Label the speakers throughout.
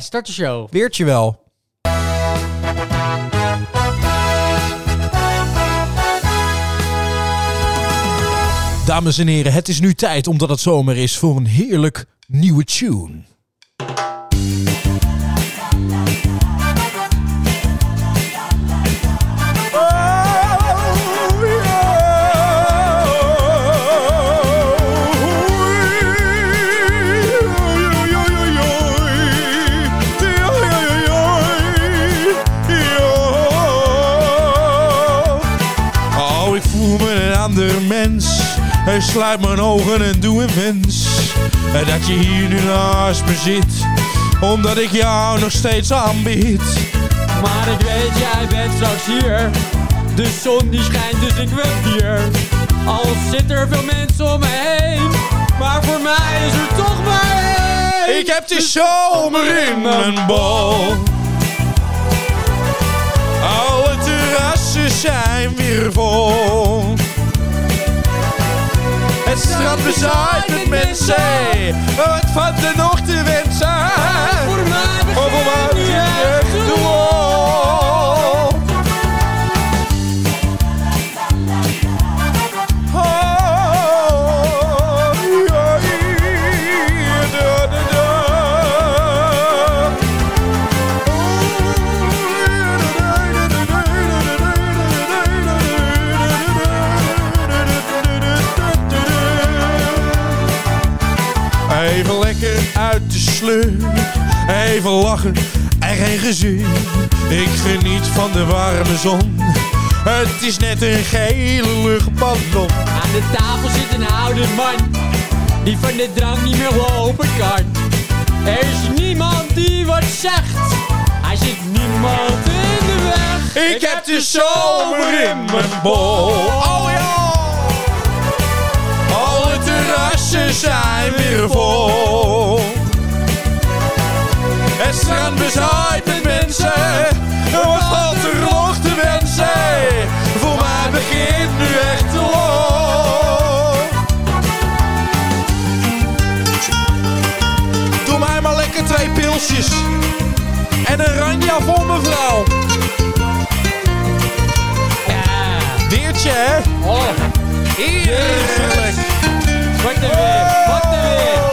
Speaker 1: start de show.
Speaker 2: Weertje wel. Dames en heren, het is nu tijd, omdat het zomer is, voor een heerlijk nieuwe tune. Oh, ik voel me een ander mens. Ik sluit mijn ogen en doe een wens. En dat je hier nu naast me zit, omdat ik jou nog steeds aanbid.
Speaker 1: Maar ik weet, jij bent straks hier. De zon die schijnt, dus ik ben hier. Al zitten er veel mensen om me heen. Maar voor mij is er toch maar één.
Speaker 2: Ik heb die zomer in mijn bol. Alle terrassen zijn weer vol. Het strand bezaaid met mensen. Wat valt er nog te wensen?
Speaker 1: Voor mij
Speaker 2: Oh, voor
Speaker 1: begint
Speaker 2: mij
Speaker 1: nu
Speaker 2: is het
Speaker 1: echt
Speaker 2: echt
Speaker 1: de
Speaker 2: de wol. Oh, ja, ja, da, da, da. Even lekker uit de sleur, even lachen en geen gezeur. Ik geniet van de warme zon, het is net een gele luchtballon.
Speaker 1: Aan de tafel zit een oude man die van de drank niet meer lopen kan. Er is niemand die wat zegt. Hij zit niemand in de weg.
Speaker 2: Ik heb de zomer in mijn bol. Oh ja! Alle terrassen zijn weer vol. Het strand bezaaid met mensen. Wat valt er nog te wensen? Voor mij begint nu echt de lol. Doe mij maar lekker twee pilsjes. En een ranja voor mevrouw.
Speaker 1: Ja.
Speaker 2: Weertje, hè?
Speaker 1: Oh,
Speaker 2: Heerlijk.
Speaker 1: wat een weer, wat een weer.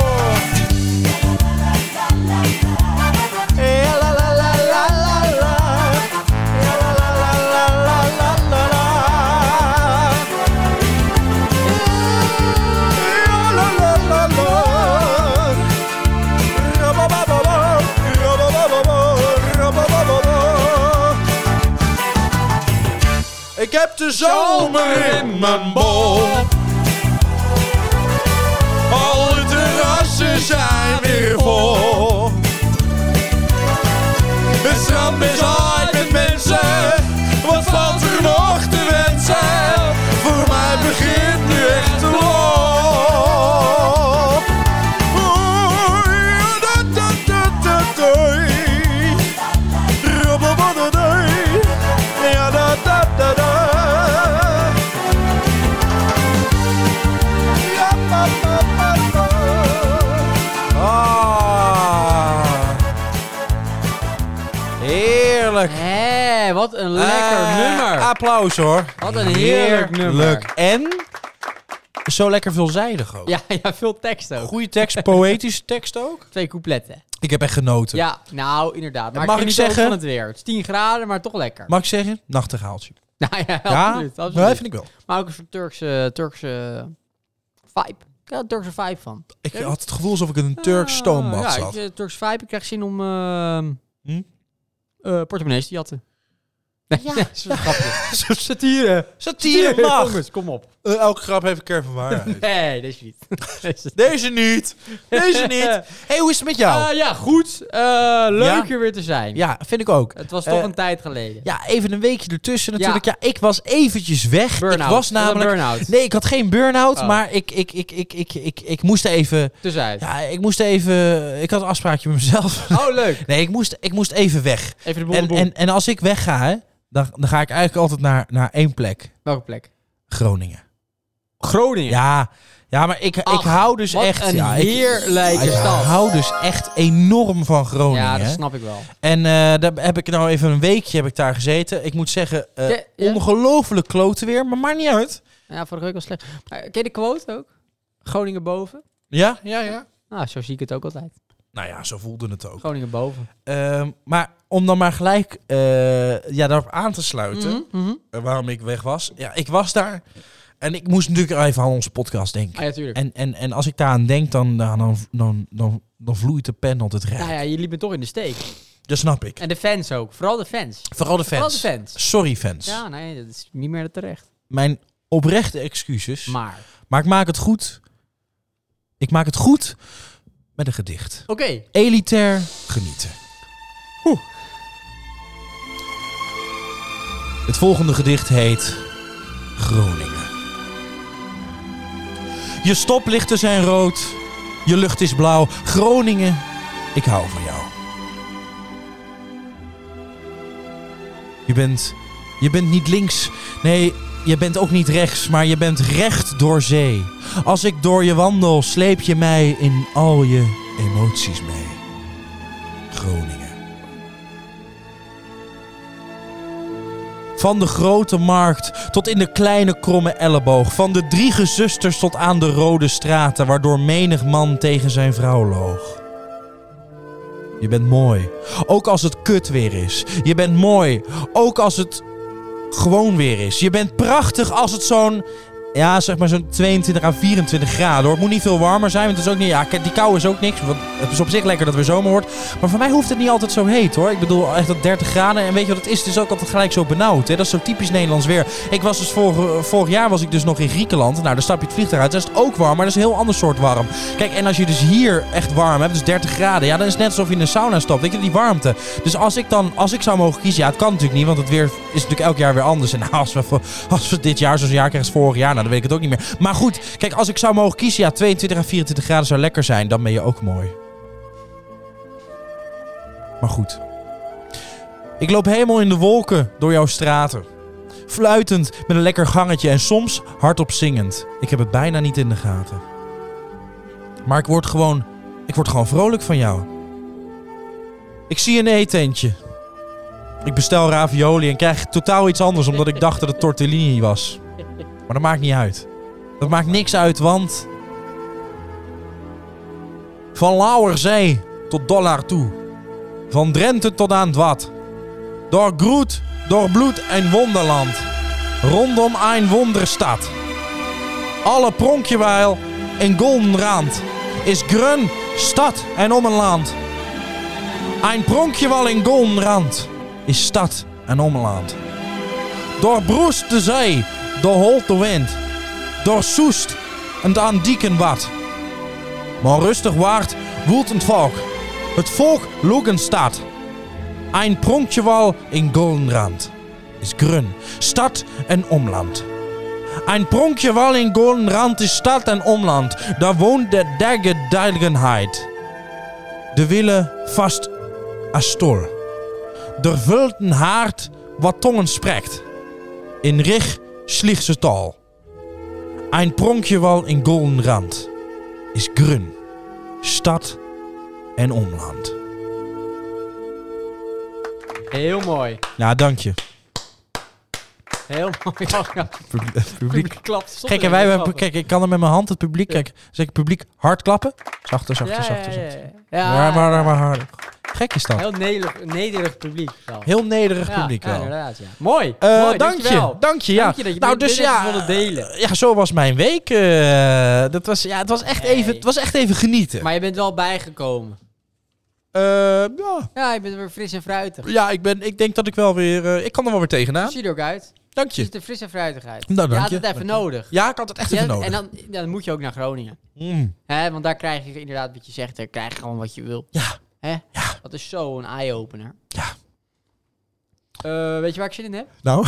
Speaker 2: Ja, la, la, la, la, la, la. Ja, la, la, la, la, la, la, la, la. Ja, la, la, la, la. Rabababa, rabababa, rabababa. Ik heb de zomer in mijn bol. Alle terrassen zijn weer vol. Het strand is hard met mensen. Wat valt er nog te wensen? Voor mij begint nu echt de lol. Oei, da, da, da, da, doei. Rababadadai. Ja, da, da, da, da. Ja, ba, ba, ba, ba. Ah. Heerlijk.
Speaker 1: Hé, wat een lekker
Speaker 2: Eh,
Speaker 1: nummer.
Speaker 2: Applaus hoor.
Speaker 1: Wat een heerlijk nummer.
Speaker 2: Leuk. En zo lekker veelzijdig ook.
Speaker 1: Ja, ja, veel tekst ook.
Speaker 2: Goeie tekst, poëtische tekst ook.
Speaker 1: Twee coupletten.
Speaker 2: Ik heb echt genoten.
Speaker 1: Ja, nou, inderdaad. Maar
Speaker 2: Mag
Speaker 1: ik
Speaker 2: ik
Speaker 1: geniet ook
Speaker 2: zeggen-
Speaker 1: van het weer. Het is 10 graden, maar toch lekker.
Speaker 2: Mag ik zeggen? Nachtegaaltje.
Speaker 1: nou ja,
Speaker 2: Ja, Nou,
Speaker 1: absoluut. absoluut.
Speaker 2: dat vind ik wel.
Speaker 1: Maar ook een soort Turkse, Turkse vibe. Ik had een Turkse vibe van.
Speaker 2: Ik
Speaker 1: Ken je?
Speaker 2: had het gevoel alsof ik in een Turks
Speaker 1: Ah,
Speaker 2: stoombad
Speaker 1: ja,
Speaker 2: zat.
Speaker 1: ik, eh, Turks vibe. Ik krijg zin om ehm
Speaker 2: Hm?
Speaker 1: eh, portemonnees te jatten. Nee, ja. dat is een grapje.
Speaker 2: Satire. Satire mag.
Speaker 1: Jongens, kom op.
Speaker 2: Eh, elke grap heeft een kern van waarheid.
Speaker 1: Nee, deze niet. Deze
Speaker 2: Deze niet. Deze niet. hey, hoe is het met jou?
Speaker 1: Eh, ja, goed. Eh, leuk
Speaker 2: Ja?
Speaker 1: hier weer te zijn.
Speaker 2: ja, vind ik ook.
Speaker 1: Het was toch
Speaker 2: Eh,
Speaker 1: een tijd geleden.
Speaker 2: Ja, even een weekje ertussen natuurlijk. Ja, ik was eventjes weg.
Speaker 1: Burn-out.
Speaker 2: Ik was
Speaker 1: Wat een
Speaker 2: namelijk...
Speaker 1: burn-out.
Speaker 2: Nee, ik had geen burn-out,
Speaker 1: Oh.
Speaker 2: maar ik, ik, ik, ik, ik, ik, ik moest even...
Speaker 1: Tussenuit.
Speaker 2: Ja, ik moest even... Ik had een afspraakje met mezelf.
Speaker 1: Oh, leuk.
Speaker 2: Nee, ik moest, ik moest even weg.
Speaker 1: Even de boel
Speaker 2: En, en, en als ik wegga, hè, dan, dan ga ik eigenlijk altijd naar, naar één plek.
Speaker 1: Welke plek?
Speaker 2: Groningen.
Speaker 1: Groningen.
Speaker 2: Ja, Ja, maar ik, ik
Speaker 1: Ach,
Speaker 2: hou dus
Speaker 1: wat
Speaker 2: echt...
Speaker 1: een
Speaker 2: ja,
Speaker 1: heerlijke
Speaker 2: ik, ik
Speaker 1: stad.
Speaker 2: hou dus echt enorm van Groningen.
Speaker 1: Ja, dat
Speaker 2: hè.
Speaker 1: snap ik wel.
Speaker 2: En eh, daar heb ik nou even een weekje heb ik daar gezeten. Ik moet zeggen, eh,
Speaker 1: Ja, ja.
Speaker 2: ongelooflijk klote weer, maar maakt niet uit.
Speaker 1: Ja, vorige week was slecht. Maar ken je de quote ook? Groningen boven.
Speaker 2: Ja, ja, ja.
Speaker 1: Nou, zo zie ik het ook altijd.
Speaker 2: Nou ja, zo voelde het ook.
Speaker 1: Groningen boven.
Speaker 2: Ehm, maar om dan maar gelijk eh, ja, daarop aan te sluiten,
Speaker 1: Mhm, mhm.
Speaker 2: eh, waarom ik weg was. Ja, ik was daar en ik moest natuurlijk even aan onze podcast denken.
Speaker 1: Ah, ja, tuurlijk.
Speaker 2: En, en, en als ik daaraan denk, dan, nou, dan, dan, dan, dan vloeit de pen altijd recht.
Speaker 1: Nou ja, je liep me toch in de steek.
Speaker 2: Dat snap ik.
Speaker 1: En de fans ook. Vooral de fans.
Speaker 2: Vooral de fans.
Speaker 1: Vooral de fans.
Speaker 2: Sorry fans.
Speaker 1: Ja, nee, dat is niet meer terecht.
Speaker 2: Mijn oprechte excuses.
Speaker 1: Maar.
Speaker 2: Maar ik maak het goed. Ik maak het goed met een gedicht.
Speaker 1: Oké.
Speaker 2: Elitair genieten.
Speaker 1: Oeh.
Speaker 2: Het volgende gedicht heet Groningen. Je stoplichten zijn rood, je lucht is blauw. Groningen, ik hou van jou. Je bent, je bent niet links, nee, je bent ook niet rechts, maar je bent recht door zee. Als ik door je wandel, sleep je mij in al je emoties mee. Groningen. Van de grote markt tot in de kleine kromme elleboog. Van de drie gezusters tot aan de rode straten, waardoor menig man tegen zijn vrouw loog. Je bent mooi, ook als het kut weer is. Je bent mooi, ook als het gewoon weer is. Je bent prachtig als het zo'n, ja, zeg maar zo'n 22 à 24 graden hoor. Het moet niet veel warmer zijn, want het is ook niet, ja, die kou is ook niks. Want het is op zich lekker dat het weer zomer wordt. Maar voor mij hoeft het niet altijd zo heet hoor. Ik bedoel echt dat 30 graden. En weet je wat het is? Het is ook altijd gelijk zo benauwd. Hè? Dat is zo typisch Nederlands weer. Ik was dus vorig, vorig jaar was ik dus nog in Griekenland. Nou, daar stap je het vliegtuig uit. Daar is het ook warm, maar dat is een heel ander soort warm. Kijk, en als je dus hier echt warm hebt, dus 30 graden. Ja, dan is het net alsof je in een sauna stapt. Weet je, die warmte. Dus als ik dan, als ik zou mogen kiezen. Ja, het kan natuurlijk niet, want het weer is natuurlijk elk jaar weer anders. En nou, als we, voor- als we dit jaar zo'n jaar krijgen als vorig jaar, nou, dan weet ik het ook niet meer. Maar goed, kijk, als ik zou mogen kiezen. Ja, 22 à 24 graden zou lekker zijn. Dan ben je ook mooi. Maar goed. Ik loop helemaal in de wolken door jouw straten. Fluitend met een lekker gangetje en soms hardop zingend. Ik heb het bijna niet in de gaten. Maar ik word gewoon, ik word gewoon vrolijk van jou. Ik zie een eetentje. Ik bestel ravioli en krijg totaal iets anders omdat ik dacht dat het tortellini was. Maar dat maakt niet uit. Dat maakt niks uit, want... Van Lauwerzee tot dollar toe. Van Drenthe tot aan het Wad. Door groet, door bloed en wonderland. Rondom een wonderstad. Alle pronkjeweil en goldenrand. Is grun, stad en om een land. Een pronkjewal en goldenrand. Is stad en om een land. Door broest de zee, door holt de wind. Door soest en aan dieken wat. Maar rustig waard woelt het volk. Het volk loeg een stad. Ein Prunkjewal in Goldenrand ist grün, Stadt en Umland. Ein Prunkjewal in Goldenrand ist Stadt en Umland. Da wohnt der der Gedeigenheit. De Wille fast astol. Der wilden Hart, wat Tongen spreekt. In Rich Schlichse Tal. Ein Prunkjewal in Goldenrand ist grün, Stadt en Umland.
Speaker 1: Heel mooi.
Speaker 2: Ja, dank je.
Speaker 1: Heel mooi. Oh,
Speaker 2: Publiek.
Speaker 1: Publiek klapt. Stop
Speaker 2: Kijk,
Speaker 1: er
Speaker 2: en wij
Speaker 1: even
Speaker 2: hebben,
Speaker 1: klappen.
Speaker 2: kijk, ik kan er met mijn hand het publiek. Kijk, zeg ik publiek hard klappen. Zachter, zachter,
Speaker 1: Ja,
Speaker 2: zachter.
Speaker 1: ja, ja,
Speaker 2: zachter.
Speaker 1: ja.
Speaker 2: Maar, maar, maar, maar harder. Gek is dat.
Speaker 1: Heel nederig, nederig publiek. Wel.
Speaker 2: Heel nederig
Speaker 1: Ja,
Speaker 2: publiek
Speaker 1: ja,
Speaker 2: wel.
Speaker 1: inderdaad, ja. Mooi.
Speaker 2: Eh,
Speaker 1: mooi
Speaker 2: dank je.
Speaker 1: dankjewel.
Speaker 2: Dank je, ja.
Speaker 1: Dank je dat je
Speaker 2: nou,
Speaker 1: dit-
Speaker 2: dus
Speaker 1: dit
Speaker 2: ja,
Speaker 1: even wilde delen.
Speaker 2: eh, Ja, zo was mijn week. eh, dat was, ja, het, was echt even,
Speaker 1: Hey.
Speaker 2: het was echt even genieten.
Speaker 1: Maar je bent wel bijgekomen.
Speaker 2: Eh, ja,
Speaker 1: Ja, je bent weer fris en fruitig.
Speaker 2: ja ik, ben, ik denk dat ik wel weer... eh, ik kan er wel weer tegenaan.
Speaker 1: Zie je er ook uit.
Speaker 2: Dank
Speaker 1: Je
Speaker 2: je.
Speaker 1: ziet er fris en fruitig uit.
Speaker 2: Nou,
Speaker 1: je
Speaker 2: dank
Speaker 1: had
Speaker 2: je.
Speaker 1: het even nodig.
Speaker 2: Ja, ik had het echt
Speaker 1: Je
Speaker 2: even
Speaker 1: had-
Speaker 2: nodig.
Speaker 1: en dan, ja, dan moet je ook naar Groningen.
Speaker 2: Mm.
Speaker 1: hè? want daar krijg je inderdaad wat je zegt. Daar krijg je gewoon wat je wil.
Speaker 2: Ja.
Speaker 1: hè?
Speaker 2: Ja.
Speaker 1: Dat is zo een eye-opener.
Speaker 2: Ja.
Speaker 1: Eh, weet je waar ik zin in heb?
Speaker 2: Nou,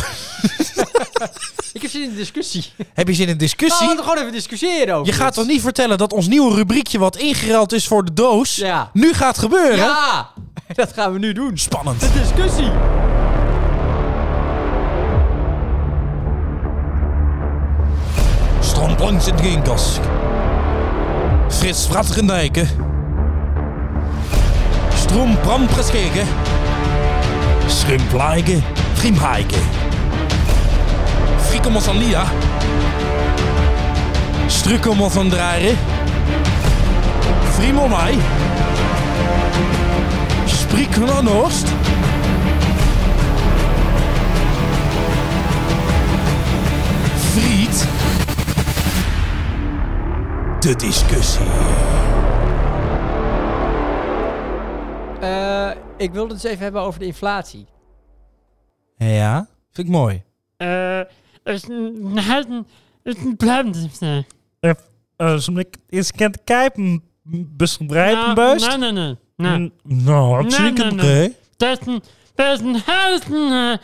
Speaker 1: Ik heb zin in een discussie.
Speaker 2: heb je zin in een
Speaker 1: Nou,
Speaker 2: discussie?
Speaker 1: laten we gewoon even discussiëren over
Speaker 2: je
Speaker 1: dit.
Speaker 2: gaat toch niet vertellen dat ons nieuwe rubriekje wat ingeruild is voor de doos...
Speaker 1: Ja.
Speaker 2: nu gaat gebeuren?
Speaker 1: Ja! Dat gaan we nu doen.
Speaker 2: Spannend.
Speaker 1: De discussie!
Speaker 2: Strand langs in Drinkers. Frits Fratgendijken. Stroom Brampreskeken. Schrimpleiken, Friemheiken. Friekommel van Lia. Strukkommel van Draaien. Friemel mij. Spriekel aan Oost. Friet. De discussie.
Speaker 1: Eh, ik wilde het eens even hebben over de inflatie.
Speaker 2: Ja, vind ik mooi.
Speaker 3: Eh, is een het is een blendste.
Speaker 4: Eh, Som ik eens kent kijken, bestrijden beust.
Speaker 3: Nee, nee, nee. nee.
Speaker 4: Mm, Nou,
Speaker 3: Nee,
Speaker 4: absoluut
Speaker 3: nee,
Speaker 4: niet.
Speaker 3: nee.
Speaker 2: Nee.
Speaker 3: Dat is een dat is een helden. eh,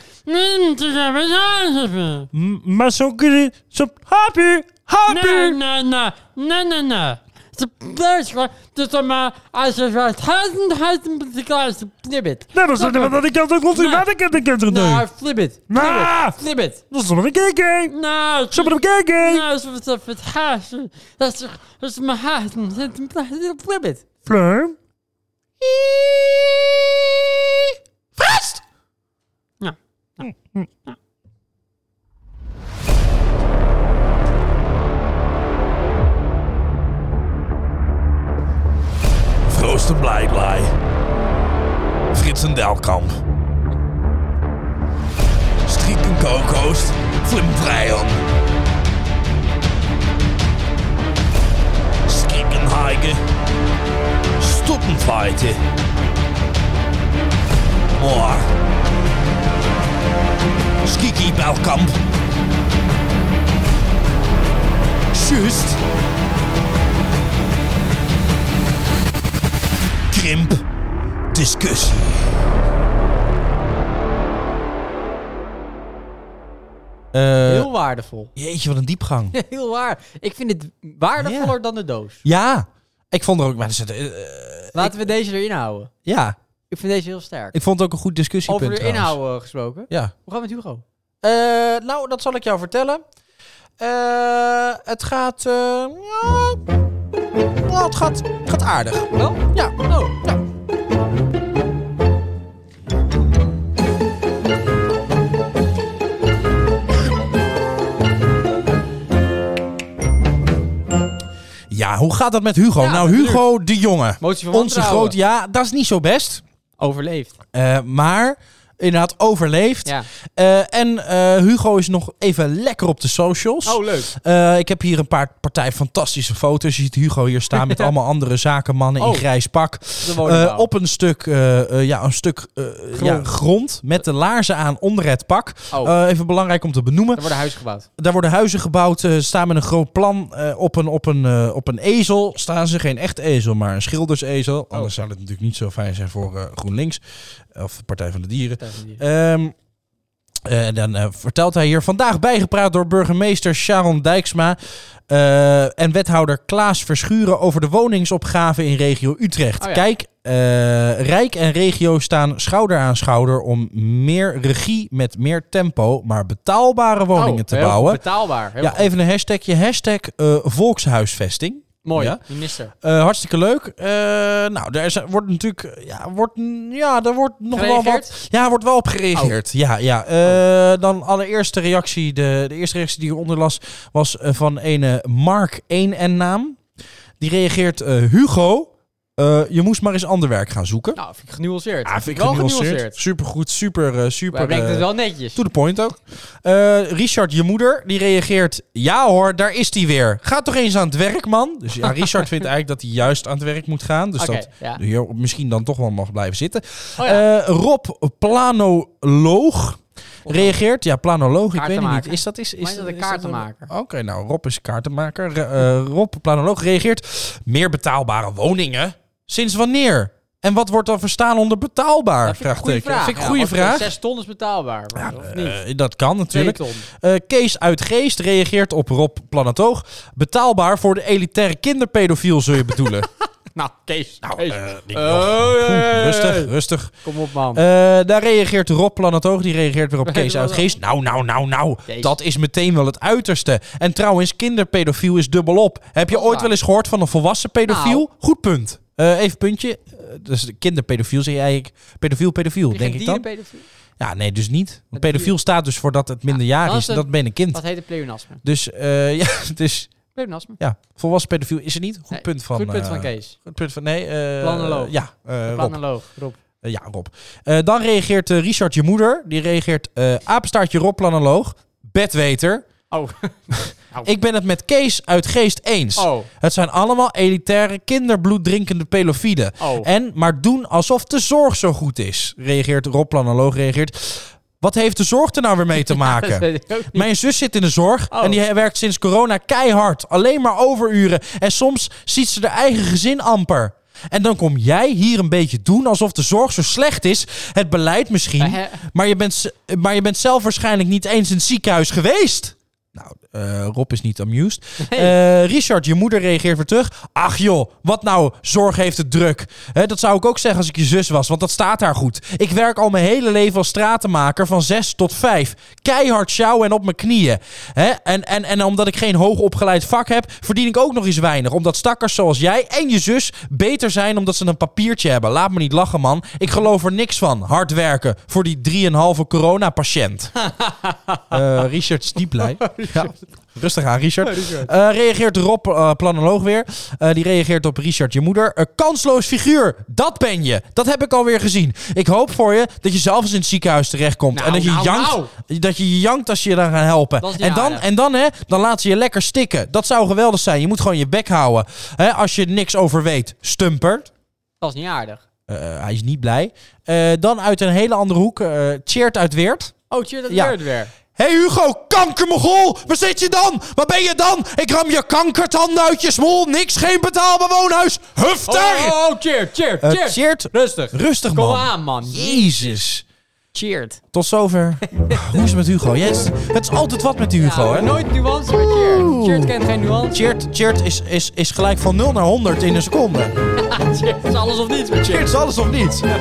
Speaker 3: niet te hebben, zo te hebben.
Speaker 4: M- Maar zo kun je... Zo, happy,
Speaker 3: Nee,
Speaker 4: happy.
Speaker 3: nee, nee. Nee, nee, nee. Het is best Dus dan maar als je wat helden hebt, dan moet ik als een flibbit.
Speaker 4: Nou, dat is dat dat ik dat ook rond in
Speaker 3: Nee.
Speaker 4: wat ik heb ik heb er
Speaker 2: Hmm.
Speaker 1: Nou,
Speaker 4: nu.
Speaker 1: flibbit.
Speaker 4: Nou,
Speaker 1: Flibbit.
Speaker 4: dat is nog een kijken.
Speaker 3: Nou,
Speaker 4: Zo maar op kijken.
Speaker 3: nou, als we het even het haast. Dat is dat is mijn haast. Dat is een flibbit.
Speaker 4: Fleur.
Speaker 2: Frist!
Speaker 3: Nou.
Speaker 2: Vroosten blij blij. Frits en Delkamp. Strieken kokoost, flimvrijen. Skikken heiken, stoppen feiten. Moor. Skiki Belkamp. Schust. Krimp. Discussie.
Speaker 1: Heel waardevol.
Speaker 2: Eh, jeetje, wat een diepgang.
Speaker 1: Heel waar. Ik vind het waardevoller dan de doos.
Speaker 2: ja, ik vond er ook... Maar er zitten, eh,
Speaker 1: Laten we deze erin houden.
Speaker 2: ja,
Speaker 1: Ik vind deze heel sterk.
Speaker 2: ik vond het ook een goed discussiepunt
Speaker 1: Over de
Speaker 2: trouwens.
Speaker 1: inhoud eh, gesproken.
Speaker 2: Ja.
Speaker 1: Hoe gaat het met Hugo?
Speaker 2: Eh, nou, dat zal ik jou vertellen. Eh, het gaat... eh, ja, nou, het gaat, het gaat aardig.
Speaker 1: Wel?
Speaker 2: Ja. Nou.
Speaker 1: Oh, ja.
Speaker 2: Ja, hoe gaat dat met Hugo?
Speaker 1: Ja,
Speaker 2: nou,
Speaker 1: natuurlijk.
Speaker 2: Hugo de Jonge.
Speaker 1: Motie van
Speaker 2: Onze
Speaker 1: wantrouwen.
Speaker 2: groot... Ja, dat is niet zo best.
Speaker 1: Overleefd.
Speaker 2: Eh, maar inderdaad overleefd.
Speaker 1: Ja.
Speaker 2: Eh, en eh, Hugo is nog even lekker op de socials.
Speaker 1: Oh, leuk.
Speaker 2: Eh, ik heb hier een paar partij fantastische foto's. Je ziet Hugo hier staan met allemaal andere zakenmannen
Speaker 1: Oh.
Speaker 2: in grijs pak.
Speaker 1: De woningbouw.
Speaker 2: Eh, op een stuk, eh, eh, ja, een stuk eh, Ja, grond met de laarzen aan onder het pak.
Speaker 1: Oh.
Speaker 2: Eh, even belangrijk om te benoemen.
Speaker 1: Er worden huizen gebouwd.
Speaker 2: Daar worden huizen gebouwd, eh, staan met een groot plan eh, op, een, op, een, eh, op een ezel. Staan ze geen echt ezel, maar een schildersezel. Anders zou het natuurlijk niet zo fijn zijn voor eh, GroenLinks eh, of Partij van de Dieren. Ehm, eh, dan eh, vertelt hij hier vandaag bijgepraat door burgemeester Sharon Dijksma eh, en wethouder Klaas Verschuren over de woningsopgave in regio Utrecht.
Speaker 1: Oh ja.
Speaker 2: Kijk, eh, Rijk en regio staan schouder aan schouder om meer regie met meer tempo, maar betaalbare eh, woningen
Speaker 1: Oh,
Speaker 2: te
Speaker 1: heel
Speaker 2: bouwen.
Speaker 1: Betaalbaar. Heel
Speaker 2: Ja, eh, even een hashtagje. Hashtag eh, volkshuisvesting.
Speaker 1: Mooi.
Speaker 2: Ja.
Speaker 1: Minister.
Speaker 2: Eh, hartstikke leuk. Eh, nou, daar is- wordt natuurlijk... Ja, wordt, ja, daar wordt nog wel wat...
Speaker 1: Gereageerd?
Speaker 2: Ja, er wordt wel op gereageerd.
Speaker 1: Oh.
Speaker 2: Ja, ja. Eh, Dan allereerste reactie. De, de eerste reactie die hieronder las was eh, van ene Mark 1 en naam. Die reageert eh, Hugo. eh, je moest maar eens ander werk gaan zoeken.
Speaker 1: Nou, vind ik genuanceerd.
Speaker 2: Ah, vind ik
Speaker 1: wel
Speaker 2: genuanceerd. Supergoed, super, eh,
Speaker 1: Maar
Speaker 2: super.
Speaker 1: brengt het
Speaker 2: eh,
Speaker 1: wel netjes.
Speaker 2: To the point ook. Eh, Richard, je moeder, die reageert... Ja hoor, daar is hij weer. Ga toch eens aan het werk, man. Dus ja, Richard vindt eigenlijk dat hij juist aan het werk moet gaan. Dus
Speaker 1: Oké,
Speaker 2: dat
Speaker 1: ja.
Speaker 2: hier misschien dan toch wel mag blijven zitten.
Speaker 1: Oh ja.
Speaker 2: Eh, Rob Planoloog reageert... Ja, Planoloog, ik weet het
Speaker 1: Kaartenmaker.
Speaker 2: niet. Is dat... Is, is,
Speaker 1: Is dat
Speaker 2: is
Speaker 1: een kaartenmaker?
Speaker 2: Oké, nou, Rob is kaartenmaker. Re- eh, Rob Planoloog reageert... Meer betaalbare woningen? Sinds wanneer? En wat wordt dan verstaan onder betaalbaar?
Speaker 1: Dat vind ik een goede
Speaker 2: Vraagteken.
Speaker 1: vraag.
Speaker 2: Vind
Speaker 1: Ja,
Speaker 2: ik een goede
Speaker 1: want
Speaker 2: vraag.
Speaker 1: Zes ton is betaalbaar. of niet?
Speaker 2: Eh, dat kan
Speaker 1: Twee
Speaker 2: natuurlijk.
Speaker 1: ton.
Speaker 2: Eh, Kees uit Geest reageert op Rob Planatoog. Betaalbaar voor de elitaire kinderpedofiel, zul je bedoelen.
Speaker 1: Nou, Kees.
Speaker 2: Nou,
Speaker 1: Kees.
Speaker 2: eh, niet
Speaker 1: Oh,
Speaker 2: nog.
Speaker 1: ja, ja, ja, ja.
Speaker 2: Oeh, Rustig, rustig.
Speaker 1: Kom op, man.
Speaker 2: Eh, daar reageert Rob Planatoog, die reageert weer op Kees
Speaker 1: wel-
Speaker 2: Uitgeest. Nou, nou, nou, nou,
Speaker 1: Kees.
Speaker 2: dat is meteen wel het uiterste. En trouwens, kinderpedofiel is dubbelop. Heb je
Speaker 1: Dat is
Speaker 2: ooit
Speaker 1: waar.
Speaker 2: wel eens gehoord van een volwassen pedofiel?
Speaker 1: Nou.
Speaker 2: Goed punt. Eh, even puntje. Eh, Dus kinderpedofiel zeg je eigenlijk pedofiel, pedofiel,
Speaker 1: Heb je
Speaker 2: denk
Speaker 1: geen
Speaker 2: ik dan?
Speaker 1: dierenpedofiel?
Speaker 2: Ja, nee, dus niet. Want
Speaker 1: Met
Speaker 2: pedofiel
Speaker 1: dieren.
Speaker 2: staat dus voor dat het minderjarig
Speaker 1: dat
Speaker 2: is.
Speaker 1: is
Speaker 2: en
Speaker 1: een-
Speaker 2: Dat ben je een kind.
Speaker 1: Wat heet het pleonasme?
Speaker 2: Dus, eh, ja, dus
Speaker 1: Pleonasme.
Speaker 2: ja, volwassen pedofiel is er niet. Goed
Speaker 1: Nee,
Speaker 2: punt van...
Speaker 1: Goed punt
Speaker 2: eh,
Speaker 1: van Kees.
Speaker 2: Goed punt van... Nee, eh,
Speaker 1: Planoloog.
Speaker 2: Ja, eh, Rob.
Speaker 1: Planoloog, Rob.
Speaker 2: Eh, ja, Rob. Eh, dan reageert eh, Richard je moeder. Die reageert eh apenstaartje Rob planoloog. Bedweter.
Speaker 1: Oh.
Speaker 2: Ik ben het met Kees uit Geest eens.
Speaker 1: Oh.
Speaker 2: Het zijn allemaal elitaire kinderbloeddrinkende pedofielen.
Speaker 1: Oh.
Speaker 2: En maar doen alsof de zorg zo goed is. Reageert Rob planoloog. Reageert. Wat heeft de zorg er nou weer mee te maken?
Speaker 1: Dat weet ik ook niet.
Speaker 2: Mijn zus zit in de zorg
Speaker 1: Oh.
Speaker 2: en die werkt sinds corona keihard. Alleen maar overuren. En soms ziet ze haar eigen gezin amper. En dan kom jij hier een beetje doen alsof de zorg zo slecht is. Het beleid misschien.
Speaker 1: Eh,
Speaker 2: Maar je bent, z- maar je bent zelf waarschijnlijk niet eens in het ziekenhuis geweest. Nou, eh, Rob is niet amused. Eh, Richard, je moeder reageert weer terug. Ach joh, wat nou, zorg heeft het druk. Hè, dat zou ik ook zeggen als ik je zus was, want dat staat daar goed. Ik werk al mijn hele leven als stratenmaker van 6 tot 5. Keihard sjouwen en op mijn knieën. Hè, en, en, en omdat ik geen hoogopgeleid vak heb, verdien ik ook nog eens weinig. Omdat stakkers zoals jij en je zus beter zijn omdat ze een papiertje hebben. Laat me niet lachen, man. Ik geloof er niks van. Hard werken voor die 3,5 coronapatiënt. Eh Richard Stieplei. Ja. Rustig aan, Richard. Eh, reageert Rob, eh, planoloog weer. Eh, die reageert op Richard, je moeder. Een kansloos figuur. Dat ben je. Dat heb ik alweer gezien. Ik hoop voor je dat je zelf eens in het ziekenhuis terechtkomt.
Speaker 1: Nou,
Speaker 2: en dat je,
Speaker 1: nou,
Speaker 2: jankt, dat je je jankt als je je daar gaan helpen.
Speaker 1: Dat is niet
Speaker 2: En dan,
Speaker 1: aardig.
Speaker 2: en dan, hè, dan laat ze je lekker stikken. Dat zou geweldig zijn. Je moet gewoon je bek houden. Hè, als je niks over weet, stumpert.
Speaker 1: Dat is niet aardig.
Speaker 2: Eh, hij is niet blij. Eh, dan uit een hele andere hoek. eh cheert uit Weert.
Speaker 1: Oh, cheer, dat
Speaker 2: Ja.
Speaker 1: gebeurt weer.
Speaker 2: Hé hey Hugo, kankermogol! Waar zit je dan? Waar ben je dan? Ik ram je kankertanden uit je smol. Niks, geen betaalbaar woonhuis.
Speaker 1: Oh,
Speaker 2: Hufter!
Speaker 1: oh, oh, cheer, cheer,
Speaker 2: Eh,
Speaker 1: cheer.
Speaker 2: cheert.
Speaker 1: Rustig.
Speaker 2: Rustig
Speaker 1: Kom
Speaker 2: man.
Speaker 1: aan, man.
Speaker 2: Jezus.
Speaker 1: Cheert.
Speaker 2: Tot zover. Hoe is het met Hugo? Yes. Het is altijd wat met die Hugo,
Speaker 1: Ja,
Speaker 2: hè?
Speaker 1: nooit nuance met cheer. Cheert kent geen nuance.
Speaker 2: Cheert, cheert is, is, is gelijk van 0 naar 100 in een seconde.
Speaker 1: Cheert is alles of niets met cheer.
Speaker 2: Cheert is alles of niets. Daar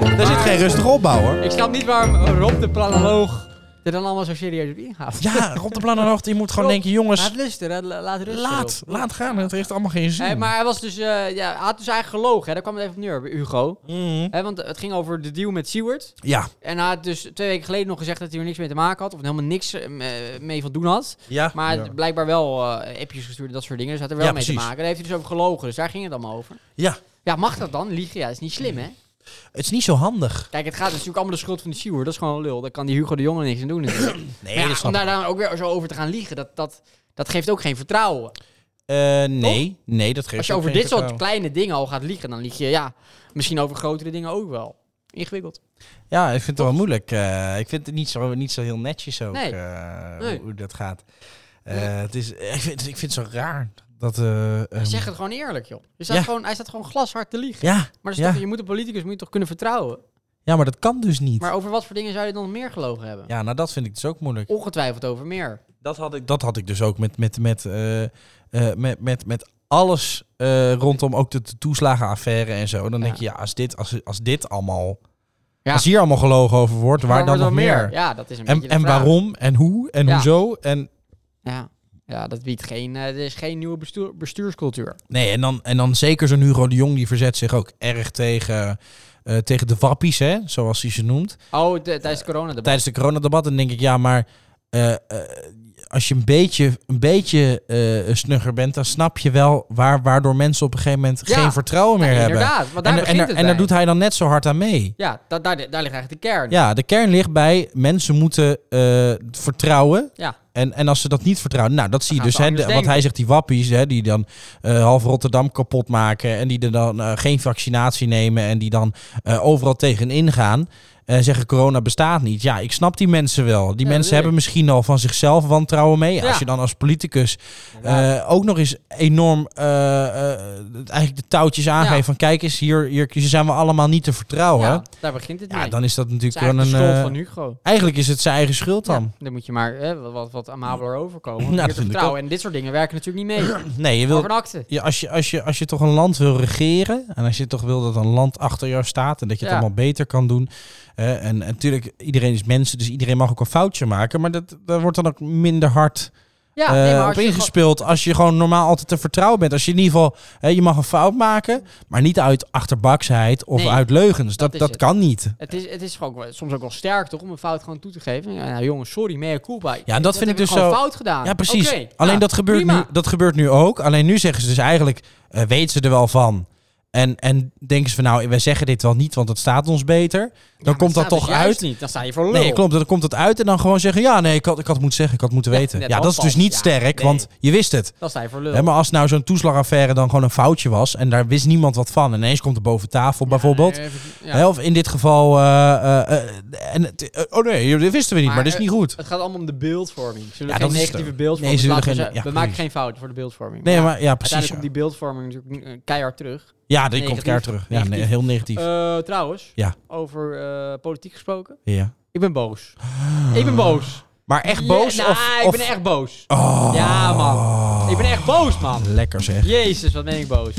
Speaker 2: zit
Speaker 1: Maar-
Speaker 2: geen rustig opbouw, hoor.
Speaker 1: Ik snap niet waarom Rob de planoloog er dan allemaal zo serieus op ingaat.
Speaker 2: Ja, Rob de Plannen je moet gewoon
Speaker 1: Rob,
Speaker 2: denken, jongens,
Speaker 1: Laat lusten, hè. La- laat rusten.
Speaker 2: laat,
Speaker 1: Rob.
Speaker 2: laat gaan. Het heeft allemaal geen
Speaker 1: Hé,
Speaker 2: zin.
Speaker 1: maar hij was dus, eh, ja, hij had dus eigenlijk gelogen. Hè? Daar kwam het even op neer, Hugo.
Speaker 2: Mhm.
Speaker 1: Hè, want het ging over de deal met Seward.
Speaker 2: Ja.
Speaker 1: En hij had dus twee weken geleden nog gezegd dat hij er niks mee te maken had. Of helemaal niks eh, mee van doen had.
Speaker 2: Ja.
Speaker 1: Maar hij had blijkbaar wel eh, appjes gestuurd en dat soort dingen. Dus hij had er wel
Speaker 2: Ja,
Speaker 1: mee te
Speaker 2: precies.
Speaker 1: maken. Daar heeft hij dus over gelogen. Dus daar ging het allemaal over.
Speaker 2: Ja.
Speaker 1: Ja, mag dat dan? Liegen, ja, dat is niet slim, hè?
Speaker 2: Het is niet zo handig.
Speaker 1: Kijk, het gaat dus natuurlijk allemaal de schuld van de Seward. Dat is gewoon lul. Daar kan die Hugo de Jonge niks aan doen. natuurlijk. Maar
Speaker 2: Nee,
Speaker 1: ja,
Speaker 2: dat snap
Speaker 1: om
Speaker 2: ik.
Speaker 1: daar dan ook weer zo over te gaan liegen, dat, dat, dat geeft ook geen vertrouwen.
Speaker 2: Eh, nee, nee, dat geeft
Speaker 1: Als je
Speaker 2: ook
Speaker 1: over
Speaker 2: geen
Speaker 1: dit soort
Speaker 2: vertrouwen.
Speaker 1: kleine dingen al gaat liegen, dan lieg je, ja, misschien over grotere dingen ook wel. Ingewikkeld.
Speaker 2: Ja, ik vind het wel moeilijk. Eh, ik vind het niet zo, niet zo heel netjes ook,
Speaker 1: Nee.
Speaker 2: eh,
Speaker 1: Nee.
Speaker 2: Hoe, hoe dat gaat. Eh, het is, ik, vind, ik vind het zo raar dat... eh, ehm,
Speaker 1: zeg het gewoon eerlijk, joh. Je staat
Speaker 2: Ja.
Speaker 1: gewoon, hij staat gewoon glashard te liegen.
Speaker 2: ja,
Speaker 1: Maar dat is
Speaker 2: ja.
Speaker 1: toch, je moet een politicus moet je toch kunnen vertrouwen.
Speaker 2: ja, maar dat kan dus niet.
Speaker 1: Maar over wat voor dingen zou je dan nog meer gelogen hebben?
Speaker 2: Ja, nou dat vind ik dus ook moeilijk.
Speaker 1: Ongetwijfeld over meer.
Speaker 2: Dat had ik, dat had ik dus ook met, met, met, eh, eh, met, met, met alles eh, rondom ook de de toeslagenaffaire en zo. Dan denk je,
Speaker 1: Ja.
Speaker 2: ja, als dit, als, als dit allemaal...
Speaker 1: Ja.
Speaker 2: Als hier allemaal gelogen over wordt, waar
Speaker 1: wordt
Speaker 2: dan nog
Speaker 1: er
Speaker 2: meer?
Speaker 1: Ja, dat is een
Speaker 2: En,
Speaker 1: beetje de
Speaker 2: en
Speaker 1: vraag.
Speaker 2: waarom en hoe en
Speaker 1: Ja.
Speaker 2: hoezo en
Speaker 1: Ja, ja dat biedt geen, eh, er is geen nieuwe bestuur, bestuurscultuur.
Speaker 2: Nee, en dan, en dan zeker zo'n Hugo de Jong, die verzet zich ook erg tegen, eh, tegen de wappies, hè, zoals hij ze noemt.
Speaker 1: Oh, de- tijdens
Speaker 2: Eh,
Speaker 1: de corona.
Speaker 2: Tijdens de coronadebat, dan denk ik, ja, maar eh, eh, als je een beetje, een beetje eh, snugger bent, dan snap je wel waar, waardoor mensen op een gegeven moment
Speaker 1: Ja.
Speaker 2: geen vertrouwen meer hebben.
Speaker 1: Inderdaad, want daar
Speaker 2: en, en,
Speaker 1: begint
Speaker 2: daar-
Speaker 1: het
Speaker 2: en daar
Speaker 1: bij.
Speaker 2: doet hij dan net zo hard aan mee.
Speaker 1: Ja, da- daar, daar ligt eigenlijk de kern.
Speaker 2: Ja, de kern ligt bij mensen moeten eh, vertrouwen.
Speaker 1: Ja.
Speaker 2: En, en als ze dat niet vertrouwen, nou dat zie je
Speaker 1: gaan
Speaker 2: dus.
Speaker 1: ze
Speaker 2: Hè,
Speaker 1: anders
Speaker 2: de- wat hij
Speaker 1: denken.
Speaker 2: zegt, die wappies, hè, die dan eh, half Rotterdam kapot maken. En die er dan eh, geen vaccinatie nemen. En die dan eh, overal tegenin gaan. En zeggen corona bestaat niet. Ja, ik snap die mensen wel. Die
Speaker 1: Ja,
Speaker 2: mensen
Speaker 1: natuurlijk.
Speaker 2: hebben misschien al van zichzelf wantrouwen mee.
Speaker 1: Ja.
Speaker 2: Als je dan als politicus
Speaker 1: Inderdaad.
Speaker 2: eh, ook nog eens enorm eh, eh, eigenlijk de touwtjes aangeeft.
Speaker 1: Ja.
Speaker 2: Van kijk eens, hier, hier zijn we allemaal niet te vertrouwen.
Speaker 1: Ja, daar begint het
Speaker 2: oh, Ja,
Speaker 1: mee.
Speaker 2: dan is dat
Speaker 1: het is
Speaker 2: natuurlijk wel
Speaker 1: eigenlijk
Speaker 2: een.
Speaker 1: de schuld
Speaker 2: eh,
Speaker 1: van Hugo.
Speaker 2: Eigenlijk is het zijn eigen schuld dan.
Speaker 1: Ja, dan moet je maar, hè, wat, wat, wat wat amabeler overkomen.
Speaker 2: Nou,
Speaker 1: Meer
Speaker 2: dat vind ik
Speaker 1: vertrouwen. En dit soort dingen werken natuurlijk niet mee.
Speaker 2: Nee, je
Speaker 1: Voor
Speaker 2: wil,
Speaker 1: een akte.
Speaker 2: ja, als, je, als, je, als je toch een land wil regeren en als je toch wil dat een land achter jou staat en dat je het
Speaker 1: Ja.
Speaker 2: allemaal beter kan doen. eh, en en natuurlijk, iedereen is mensen, dus iedereen mag ook een foutje maken. Maar dat, daar wordt dan ook minder hard
Speaker 1: Ja,
Speaker 2: eh,
Speaker 1: nee, maar
Speaker 2: op
Speaker 1: als je gewoon-
Speaker 2: ingespeeld als je gewoon normaal altijd te vertrouwen bent. Als je in ieder geval, hè, je mag een fout maken, maar niet uit achterbaksheid of
Speaker 1: Nee,
Speaker 2: uit leugens. Dat,
Speaker 1: is
Speaker 2: dat,
Speaker 1: het.
Speaker 2: kan niet.
Speaker 1: Het is, het is gewoon ook wel- soms ook wel sterk, toch? Om een fout gewoon toe te geven. Ja, nou, jongens, sorry, mea culpa.
Speaker 2: Ja, dat vind ik dus
Speaker 1: gewoon
Speaker 2: zo-
Speaker 1: fout gedaan.
Speaker 2: Ja, precies.
Speaker 1: Ah, Oké,
Speaker 2: Alleen
Speaker 1: ja,
Speaker 2: dat, gebeurt
Speaker 1: prima.
Speaker 2: nu, dat gebeurt nu ook. Alleen nu zeggen ze dus eigenlijk, eh weten ze er wel van. En, en denken ze van nou, wij zeggen dit wel niet, want het staat ons beter. Dan
Speaker 1: Ja, maar het
Speaker 2: komt dat
Speaker 1: staat dus
Speaker 2: toch
Speaker 1: juist
Speaker 2: uit.
Speaker 1: Niet. Dan sta je voor lul.
Speaker 2: Nee, klopt. Dan komt dat uit en dan gewoon zeggen, ja, nee, ik had, ik had het moeten zeggen, ik had het moeten
Speaker 1: Ja,
Speaker 2: weten.
Speaker 1: net
Speaker 2: Ja, dat is dus
Speaker 1: handvast.
Speaker 2: niet
Speaker 1: Ja,
Speaker 2: sterk,
Speaker 1: nee.
Speaker 2: want je wist het.
Speaker 1: Dan sta je voor lul.
Speaker 2: Hè, maar als nou zo'n toeslagaffaire dan gewoon een foutje was en daar wist niemand wat van. En ineens komt er boven tafel bijvoorbeeld.
Speaker 1: Ja, even- ja.
Speaker 2: Hè, of in dit geval, eh, eh, eh, en, het- eh, oh nee, dat wisten we niet, maar,
Speaker 1: Maar,
Speaker 2: dat is
Speaker 1: eh,
Speaker 2: niet goed.
Speaker 1: Het gaat allemaal om de beeldvorming. Ze willen
Speaker 2: Ja, dat
Speaker 1: geen
Speaker 2: is het
Speaker 1: negatieve
Speaker 2: ook.
Speaker 1: beeldvorming.
Speaker 2: Nee, ze
Speaker 1: Dus
Speaker 2: willen
Speaker 1: laten we ze-
Speaker 2: geen- ja,
Speaker 1: we maken
Speaker 2: precies.
Speaker 1: geen fouten voor de beeldvorming.
Speaker 2: Nee,
Speaker 1: Ja,
Speaker 2: maar ja, precies.
Speaker 1: Uiteindelijk komt die beeldvorming natuurlijk eh, keihard terug.
Speaker 2: Ja, die komt
Speaker 1: negatief.
Speaker 2: keihard terug. Ja, nee,
Speaker 1: Negatief.
Speaker 2: heel negatief.
Speaker 1: Eh, trouwens,
Speaker 2: Ja.
Speaker 1: over eh, politiek gesproken.
Speaker 2: ja.
Speaker 1: Ik ben boos. Ik ben boos.
Speaker 2: Maar echt boos?
Speaker 1: Ja, nou,
Speaker 2: of,
Speaker 1: ik
Speaker 2: of-
Speaker 1: ben echt boos.
Speaker 2: Oh,
Speaker 1: Ja, man. Ik ben echt boos, man.
Speaker 2: Lekker zeg.
Speaker 1: Jezus, wat ben ik boos.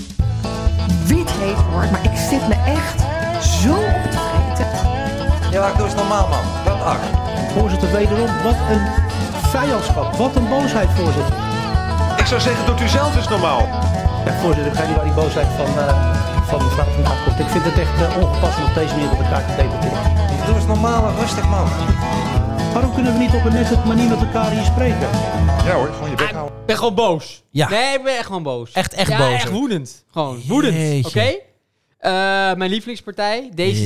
Speaker 5: wie het heeft hoor, maar ik zit me echt zo op te vreten.
Speaker 6: Ja, maar doe eens normaal, man. Dat acht.
Speaker 7: Voorzitter, wederom, wat een vijandschap. Wat een boosheid, voorzitter.
Speaker 6: Ik zou zeggen, doet u zelf eens normaal.
Speaker 7: Ja, voorzitter, ik ga niet waar die boosheid van, eh, van mevrouw vandaan komt. Ik vind het echt eh, ongepast om op deze manier met elkaar te debatteren.
Speaker 6: Doe eens normaal en rustig, man.
Speaker 7: Waarom kunnen we niet op een nette manier met elkaar hier spreken?
Speaker 6: Ja hoor, gewoon je bek houden.
Speaker 1: Ik ben gewoon boos.
Speaker 2: Ja.
Speaker 1: Nee, ik ben echt gewoon boos.
Speaker 2: Echt, echt
Speaker 1: ja,
Speaker 2: boos,
Speaker 1: echt
Speaker 2: hè?
Speaker 1: woedend. Gewoon woedend.
Speaker 2: Jeetje.
Speaker 1: Oké? Eh, mijn lievelingspartij, D66.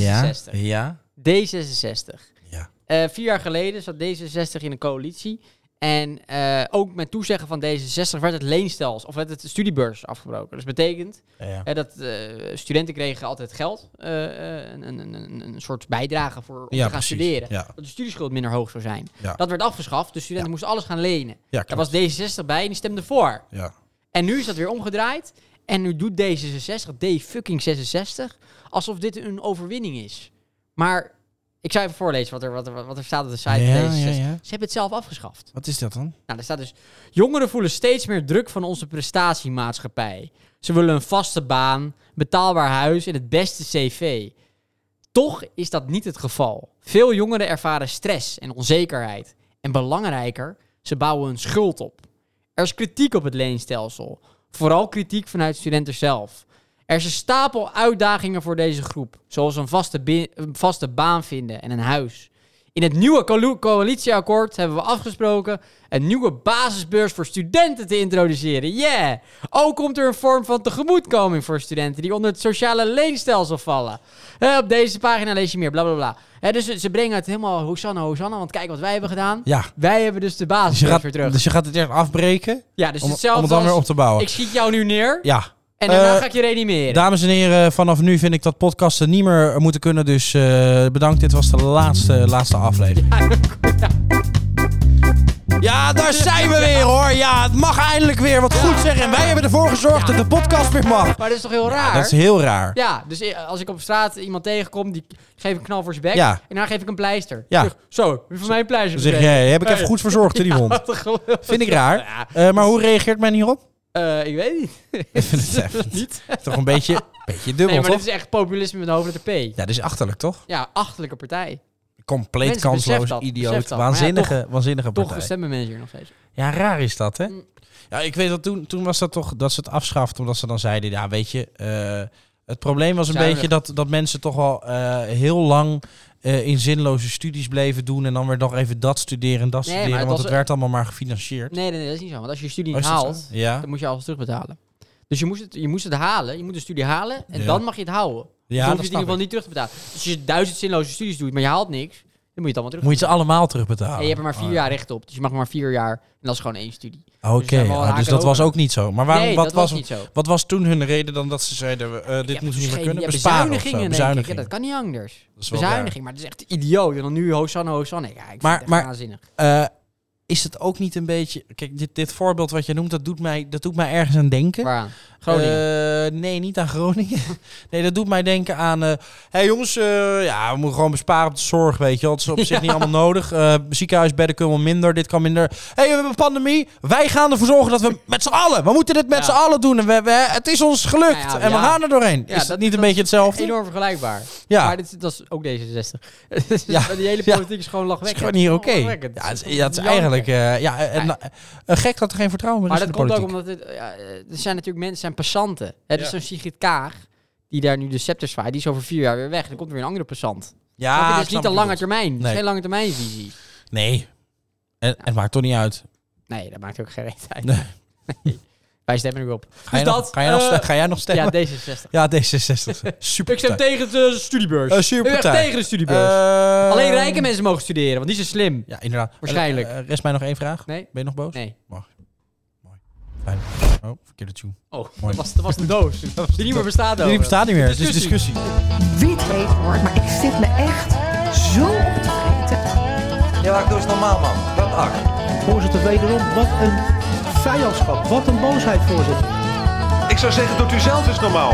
Speaker 2: Ja. ja.
Speaker 1: D66.
Speaker 2: Ja.
Speaker 1: Eh, vier jaar geleden zat D66 in een coalitie. En eh, ook met toezeggen van D66 werd het leenstelsel, of werd het studiebeurs afgebroken. Dus betekent
Speaker 2: Ja.
Speaker 1: Hè, dat eh, studenten kregen altijd geld, eh, eh, een, een, een, een soort bijdrage voor om
Speaker 2: Ja,
Speaker 1: te gaan
Speaker 2: precies.
Speaker 1: studeren.
Speaker 2: Ja.
Speaker 1: Dat de studieschuld minder hoog zou zijn.
Speaker 2: Ja.
Speaker 1: Dat werd afgeschaft, dus studenten moesten alles gaan lenen.
Speaker 2: Ja,
Speaker 1: Daar
Speaker 2: klopt.
Speaker 1: was D66 bij en die stemde voor.
Speaker 2: Ja.
Speaker 1: En nu is dat weer omgedraaid. En nu doet D66, D-fucking-66, alsof dit een overwinning is. Maar ik zou even voorlezen wat er, wat er, wat er staat op de site
Speaker 2: Ja,
Speaker 1: van D66.
Speaker 2: ja, ja.
Speaker 1: Ze hebben het zelf afgeschaft.
Speaker 2: Wat is dat dan?
Speaker 1: Nou, daar staat dus... Jongeren voelen steeds meer druk van onze prestatiemaatschappij. Ze willen een vaste baan, betaalbaar huis en het beste cv. Toch is dat niet het geval. Veel jongeren ervaren stress en onzekerheid. En belangrijker, ze bouwen een schuld op. Er is kritiek op het leenstelsel. Vooral kritiek vanuit studenten zelf. Er is een stapel uitdagingen voor deze groep. Zoals een vaste, bi- een vaste baan vinden en een huis. In het nieuwe coalo- coalitieakkoord hebben we afgesproken een nieuwe basisbeurs voor studenten te introduceren. Yeah! Ook komt er een vorm van tegemoetkoming voor studenten die onder het sociale leenstelsel vallen. Hè, op deze pagina lees je meer, bla bla bla. Hè, dus ze- ze brengen het helemaal Hosanna, Hosanna, want kijk wat wij hebben gedaan.
Speaker 2: Ja.
Speaker 1: Wij hebben dus de
Speaker 2: Dus je,
Speaker 1: basisbeurs weer
Speaker 2: gaat,
Speaker 1: terug.
Speaker 2: dus je gaat het echt afbreken
Speaker 1: Ja, dus
Speaker 2: om,
Speaker 1: hetzelfde
Speaker 2: om het dan
Speaker 1: als-
Speaker 2: weer op te bouwen.
Speaker 1: Ik schiet jou nu neer
Speaker 2: Ja.
Speaker 1: en daarna
Speaker 2: Eh,
Speaker 1: ga ik je reanimeren.
Speaker 2: Dames en heren, vanaf nu vind ik dat podcasten niet meer moeten kunnen. Dus eh, bedankt. Dit was de laatste, laatste aflevering. Ja, daar zijn we weer hoor. Ja, het mag eindelijk weer. Wat goed zeggen. En wij hebben ervoor gezorgd dat de podcast weer mag.
Speaker 1: maar dat is toch heel raar?
Speaker 2: Dat is heel raar.
Speaker 1: Ja, dus i- als ik op straat iemand tegenkom, die geef ik een knal voor zijn bek.
Speaker 2: Ja.
Speaker 1: En daarna geef ik een pleister.
Speaker 2: Ja.
Speaker 1: Ik zeg, zo, wie van mij een pleister
Speaker 2: Dan zeg
Speaker 1: gekregen?
Speaker 2: jij, heb ik even
Speaker 1: Hey.
Speaker 2: goed verzorgd in die
Speaker 1: Ja,
Speaker 2: hond.
Speaker 1: wat een gelul.
Speaker 2: Vind ik raar.
Speaker 1: Ja.
Speaker 2: Eh, maar hoe reageert men hierop?
Speaker 1: Eh, ik weet niet.
Speaker 2: Ik vind het even
Speaker 1: niet.
Speaker 2: toch een beetje, beetje dubbel,
Speaker 1: Nee, maar dit
Speaker 2: toch?
Speaker 1: is echt populisme met een hoofdletter P.
Speaker 2: Ja, dit is achterlijk, toch?
Speaker 1: Ja, achterlijke partij.
Speaker 2: Compleet
Speaker 1: Mensen, besef
Speaker 2: kansloos,
Speaker 1: dat, besef
Speaker 2: idioot,
Speaker 1: dat.
Speaker 2: waanzinnige,
Speaker 1: Maar
Speaker 2: waanzinnige
Speaker 1: Toch
Speaker 2: partij.
Speaker 1: stemmen mensen hier nog steeds.
Speaker 2: ja, raar is dat, hè?
Speaker 1: Mm.
Speaker 2: Ja, ik weet dat toen, toen was dat toch dat ze het afschaft, omdat ze dan zeiden, ja, weet je, eh, het probleem was een
Speaker 1: Zuinig.
Speaker 2: beetje dat, dat mensen toch wel eh, heel lang eh, in zinloze studies bleven doen en dan weer nog even dat studeren en dat
Speaker 1: Nee, maar
Speaker 2: studeren,
Speaker 1: het
Speaker 2: want
Speaker 1: was-
Speaker 2: het werd allemaal maar gefinancierd.
Speaker 1: Nee, nee, nee, dat is niet zo. Want als je je studie
Speaker 2: Oh,
Speaker 1: niet
Speaker 2: is dat zo?
Speaker 1: haalt,
Speaker 2: Ja,
Speaker 1: dan moet je alles terugbetalen. Dus je moest, het, je moest het halen, je moet de studie halen en
Speaker 2: Ja.
Speaker 1: dan mag je het houden.
Speaker 2: ja
Speaker 1: dan hoef je
Speaker 2: dat
Speaker 1: het in
Speaker 2: snap
Speaker 1: ieder geval
Speaker 2: ik.
Speaker 1: niet terug te betalen. Dus als je duizend zinloze studies doet, maar je haalt niks, dan moet je het allemaal terug.
Speaker 2: Moet je ze allemaal terugbetalen?
Speaker 1: En je hebt er maar vier
Speaker 2: Oh, ja.
Speaker 1: jaar recht op. Dus je mag maar vier jaar. En dat is gewoon één studie.
Speaker 2: Oké,
Speaker 1: Dus daar
Speaker 2: ah,
Speaker 1: wel
Speaker 2: dus,
Speaker 1: haken
Speaker 2: dat was
Speaker 1: over.
Speaker 2: ook niet zo. Maar waarom,
Speaker 1: nee,
Speaker 2: wat,
Speaker 1: dat
Speaker 2: was,
Speaker 1: was niet zo.
Speaker 2: wat was toen hun reden dan dat ze zeiden, eh, dit
Speaker 1: Ja,
Speaker 2: moeten we niet meer
Speaker 1: geen-
Speaker 2: kunnen?
Speaker 1: ja,
Speaker 2: Besparen of zo,
Speaker 1: bezuinigingen, denk ik. Ja,
Speaker 2: bezuinigingen.
Speaker 1: dat kan niet anders.
Speaker 2: Dat is wel
Speaker 1: bezuiniging, maar dat is echt idioot. En dan nu Hosanna, Hosanna. Ja, ik vind
Speaker 2: Maar-
Speaker 1: het echt
Speaker 2: maar-
Speaker 1: waanzinnig.
Speaker 2: Eh, Is het ook niet een beetje... Kijk, dit, dit voorbeeld wat je noemt, dat doet mij, dat doet mij ergens aan denken.
Speaker 1: Waaraan? Groningen.
Speaker 2: Eh, nee, niet aan Groningen. nee, dat doet mij denken aan... eh hey jongens, eh, ja, we moeten gewoon besparen op de zorg, weet je wel. Het is op zich niet allemaal nodig. Eh, ziekenhuisbedden kunnen wel minder, dit kan minder. hey, we hebben een pandemie. Wij gaan ervoor zorgen dat we met z'n allen... We moeten dit met
Speaker 1: Ja.
Speaker 2: z'n allen doen. En we, we- het is ons gelukt.
Speaker 1: Nou ja,
Speaker 2: en we
Speaker 1: ja.
Speaker 2: gaan er doorheen. is dat niet een beetje hetzelfde?
Speaker 1: Enorm vergelijkbaar.
Speaker 2: Ja.
Speaker 1: Maar dit, dat is ook D66.
Speaker 2: Ja.
Speaker 1: Die hele
Speaker 2: Ja.
Speaker 1: politiek is gewoon
Speaker 2: Het is
Speaker 1: lachwekkend.
Speaker 2: gewoon niet oké. Ja,
Speaker 1: Lachwekkend.
Speaker 2: het is, ja, het
Speaker 1: Janken.
Speaker 2: is eigenlijk... eh, ja, en,
Speaker 1: Ja.
Speaker 2: eh, gek dat er geen vertrouwen meer
Speaker 1: Maar
Speaker 2: is
Speaker 1: dat
Speaker 2: in de
Speaker 1: komt ook
Speaker 2: politiek.
Speaker 1: omdat het, ja, eh, er zijn natuurlijk mensen, zijn passanten. Het is zo'n Sigrid Kaag, die daar nu de scepter zwaait. Die is over vier jaar weer weg. Dan komt er weer een andere passant.
Speaker 2: Ja,
Speaker 1: het
Speaker 2: Ah, ik
Speaker 1: is
Speaker 2: snap
Speaker 1: niet een
Speaker 2: wat je
Speaker 1: lange
Speaker 2: bedoelt.
Speaker 1: termijn. Het is
Speaker 2: Nee.
Speaker 1: geen lange termijnvisie.
Speaker 2: Nee. En, Het maakt toch niet uit.
Speaker 1: Nee, dat maakt ook geen reet uit.
Speaker 2: Nee.
Speaker 1: Nee. Wij stemmen nu op.
Speaker 2: Ga jij,
Speaker 1: Dus
Speaker 2: nog,
Speaker 1: dat,
Speaker 2: ga jij nog
Speaker 1: eh,
Speaker 2: ste- ga jij nog stemmen?
Speaker 1: Ja, D66.
Speaker 2: Ja, D66. Super.
Speaker 1: Ik stem tegen de studiebeurs.
Speaker 2: Eh, superpartij.
Speaker 1: Ik ben echt tegen de studiebeurs.
Speaker 2: Eh,
Speaker 1: Alleen rijke mensen mogen studeren, want die zijn slim.
Speaker 2: Ja, inderdaad.
Speaker 1: Waarschijnlijk.
Speaker 2: Eh, eh, rest mij nog één vraag.
Speaker 1: Nee?
Speaker 2: Ben je nog boos?
Speaker 1: Nee.
Speaker 2: Fijn. Oh, verkeerde tune.
Speaker 1: Oh, dat
Speaker 2: Mooi.
Speaker 1: was, dat was de doos. Die niet meer bestaat
Speaker 2: Die
Speaker 1: over.
Speaker 2: bestaat niet meer. Het is
Speaker 1: Discussie.
Speaker 2: discussie.
Speaker 5: witleefwoord, maar ik zit me echt zo op te vreten.
Speaker 6: Ja, maar doe eens normaal, man. Wat acht.
Speaker 7: Voorzitter, wederom, wat een vijandschap. Wat een boosheid, voorzitter.
Speaker 6: Ik zou zeggen, doet u zelf eens normaal.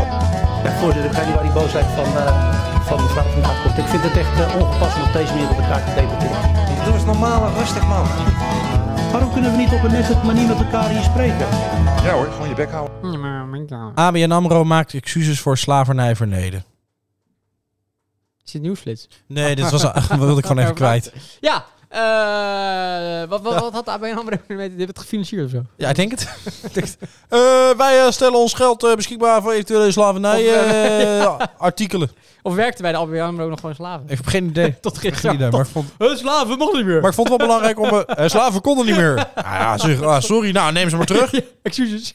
Speaker 7: Ja, voorzitter, ik ga niet waar die boosheid van, eh, van mevrouw vandaan komt. Ik vind het echt eh, ongepast om op deze manier met elkaar te debatteren.
Speaker 6: Doe eens normaal en rustig, man.
Speaker 7: Waarom kunnen we niet op een nette manier met elkaar hier spreken?
Speaker 6: Ja hoor, gewoon je bek houden.
Speaker 2: ABN AMRO maakt excuses voor slavernijverleden.
Speaker 1: Is dit nieuwsflits?
Speaker 2: Nee, dit was, wilde ik gewoon even kwijt.
Speaker 1: Ja, eh, wat, wat, wat had ABN AMRO ermee? Dit het gefinancierd of zo?
Speaker 2: Ja, ik denk het. Ik denk het. Eh, wij eh, stellen ons geld eh, beschikbaar voor eventuele slavernij
Speaker 1: Of,
Speaker 2: eh, artikelen.
Speaker 1: Of werkte bij de ABN AMRO nog gewoon slaven?
Speaker 2: Ik heb geen idee.
Speaker 1: Tot
Speaker 2: Geen
Speaker 1: gisteren.
Speaker 2: idee, maar ik vond,
Speaker 1: Hun slaven mocht niet meer.
Speaker 2: maar ik vond het wel belangrijk om... eh, eh, slaven konden niet meer. Ah, ja, zeg, ah, sorry, nou neem ze maar terug.
Speaker 1: Excuses.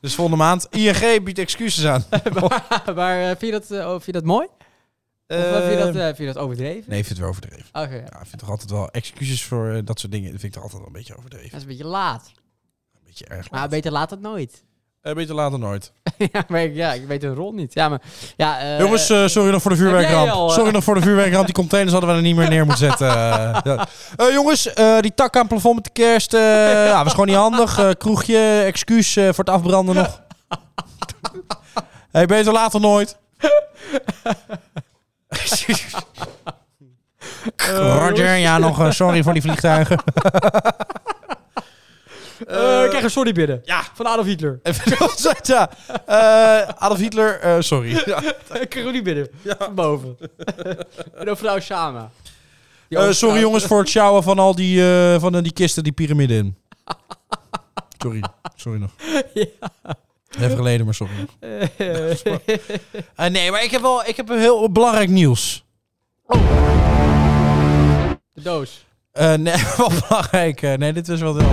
Speaker 2: Dus volgende maand, ING biedt excuses aan.
Speaker 1: maar eh, vind, je dat, eh, oh, vind je dat mooi? Of eh, vind, je dat, eh, vind je dat overdreven?
Speaker 2: Ehm, Nee, ik vind het wel overdreven.
Speaker 1: Oké, ja.
Speaker 2: Ja, ik vind toch altijd wel excuses voor eh, dat soort dingen. Dat vind ik toch altijd wel een beetje overdreven.
Speaker 1: dat is een beetje laat.
Speaker 2: Een beetje erg.
Speaker 1: Maar
Speaker 2: laat.
Speaker 1: beter laat dan nooit.
Speaker 2: Eh, beter later nooit.
Speaker 1: ja, maar ik, ja, ik weet hun rol niet. Ja, maar... Ja, eh,
Speaker 2: Jongens, eh, sorry nog voor de
Speaker 1: heb jij al,
Speaker 2: vuurwerkramp.
Speaker 1: eh?
Speaker 2: Sorry nog voor de vuurwerkramp. Die containers hadden we er niet meer neer moeten zetten. Eh, ja. Eh, jongens, eh, die tak aan het plafond met de kerst. eh, ja, was gewoon niet handig. Eh, kroegje, excuus eh, voor het afbranden nog. hey, beter later nooit. Roger, ja, nog eh, sorry voor die vliegtuigen.
Speaker 1: eh, ik krijg een sorry binnen. Ja. Van Adolf Hitler.
Speaker 2: Even dat soort, ja. Eh, Adolf Hitler, eh, sorry.
Speaker 1: ik krijg hem niet binnen. Van boven. en dan vrouw Shama. Die
Speaker 2: Eh,
Speaker 1: ook-
Speaker 2: sorry jongens voor het sjouwen van al die, eh, van, eh, die kisten, die piramide in. Sorry, sorry nog. Even geleden, maar sorry. nog. Eh, nee, maar ik heb wel ik heb een heel belangrijk nieuws.
Speaker 1: De doos.
Speaker 2: Eh, nee, wel belangrijk. eh, nee, dit was wel heel-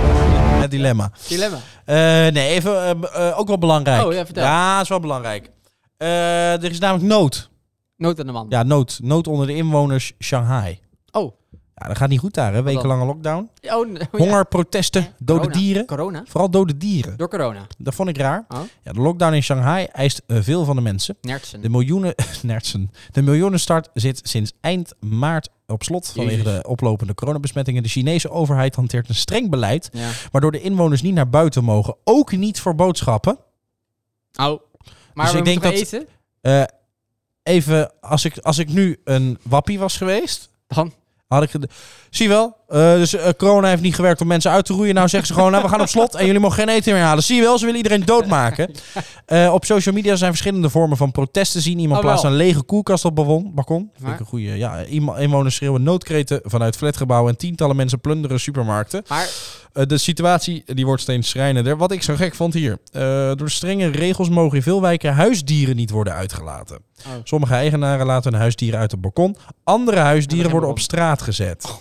Speaker 2: het dilemma.
Speaker 1: Dilemma.
Speaker 2: Eh, nee, even, eh, eh, ook wel belangrijk.
Speaker 1: Oh, ja, vertel.
Speaker 2: Ja, is wel belangrijk. Eh, er is namelijk nood.
Speaker 1: Nood aan de man.
Speaker 2: Ja, nood. Nood onder de inwoners Shanghai.
Speaker 1: Oh.
Speaker 2: Ja, dat gaat niet goed daar, hè? Wekenlange lockdown.
Speaker 1: Oh, n- oh, ja.
Speaker 2: Honger, protesten, dode
Speaker 1: Corona.
Speaker 2: dieren.
Speaker 1: Corona?
Speaker 2: Vooral dode dieren.
Speaker 1: Door corona.
Speaker 2: Dat vond ik raar.
Speaker 1: Oh. Hm.
Speaker 2: Ja, de lockdown in Shanghai eist eh, veel van de mensen.
Speaker 1: Nertsen.
Speaker 2: De miljoenen... Nertsen. De miljoenenstart zit sinds eind maart op slot vanwege de oplopende coronabesmettingen. De Chinese overheid hanteert een streng beleid
Speaker 1: Ja.
Speaker 2: waardoor de inwoners niet naar buiten mogen. Ook niet voor boodschappen.
Speaker 1: Oh. Maar
Speaker 2: Dus
Speaker 1: we
Speaker 2: ik denk
Speaker 1: moeten
Speaker 2: dat-
Speaker 1: eten.
Speaker 2: Eh, even, als ik, als ik nu een wappie was geweest...
Speaker 1: Dan?
Speaker 2: Had ik ged- Zie je wel, eh, dus eh, corona heeft niet gewerkt om mensen uit te roeien. Nou zeggen ze gewoon, nou, we gaan op slot en jullie mogen geen eten meer halen. Zie je wel, ze willen iedereen doodmaken. Eh, op social media zijn verschillende vormen van protest te zien. Iemand
Speaker 1: Oh, wel.
Speaker 2: plaatst een lege koelkast op balkon. balkon. Vind
Speaker 1: Maar?
Speaker 2: ik een goede. Ja, Iemand- inwoners schreeuwen noodkreten vanuit flatgebouwen en tientallen mensen plunderen supermarkten.
Speaker 1: Maar
Speaker 2: Eh, de situatie eh, die wordt steeds schrijnender. Wat ik zo gek vond hier. Eh, door strenge regels mogen in veel wijken huisdieren niet worden uitgelaten.
Speaker 1: Oh.
Speaker 2: Sommige eigenaren laten hun huisdieren uit het balkon. Andere huisdieren
Speaker 1: geen
Speaker 2: worden op
Speaker 1: balkon.
Speaker 2: straat gezet.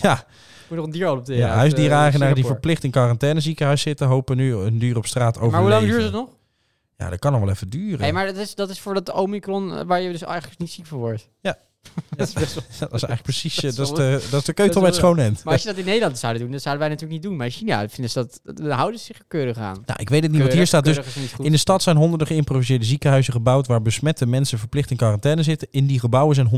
Speaker 2: Ja,
Speaker 1: ik moet nog een dier adopteren.
Speaker 2: ja
Speaker 1: uit, eh,
Speaker 2: huisdiereneigenaren die
Speaker 1: Singapore.
Speaker 2: verplicht in quarantaine ziekenhuis zitten, hopen nu een duur op straat overleven.
Speaker 1: Maar hoe lang duurt het nog?
Speaker 2: Ja, dat kan nog wel even duren.
Speaker 1: Hé, maar dat is, dat is voor dat Omicron eh, waar je dus eigenlijk niet ziek van wordt.
Speaker 2: Ja.
Speaker 1: dat is best wel...
Speaker 2: dat is eigenlijk precies eh,
Speaker 1: Dat is
Speaker 2: dat is
Speaker 1: wel-
Speaker 2: de, dat is de keutel
Speaker 1: dat
Speaker 2: bij
Speaker 1: is
Speaker 2: het schoonend.
Speaker 1: Maar als je dat in Nederland zouden doen, dat zouden wij natuurlijk niet doen. Maar in China vinden ze dat, dat daar houden ze zich keurig aan.
Speaker 2: Nou, ik weet het niet, want hier staat dus... In de stad zijn honderden geïmproviseerde ziekenhuizen gebouwd waar besmette mensen verplicht in quarantaine zitten. In die gebouwen zijn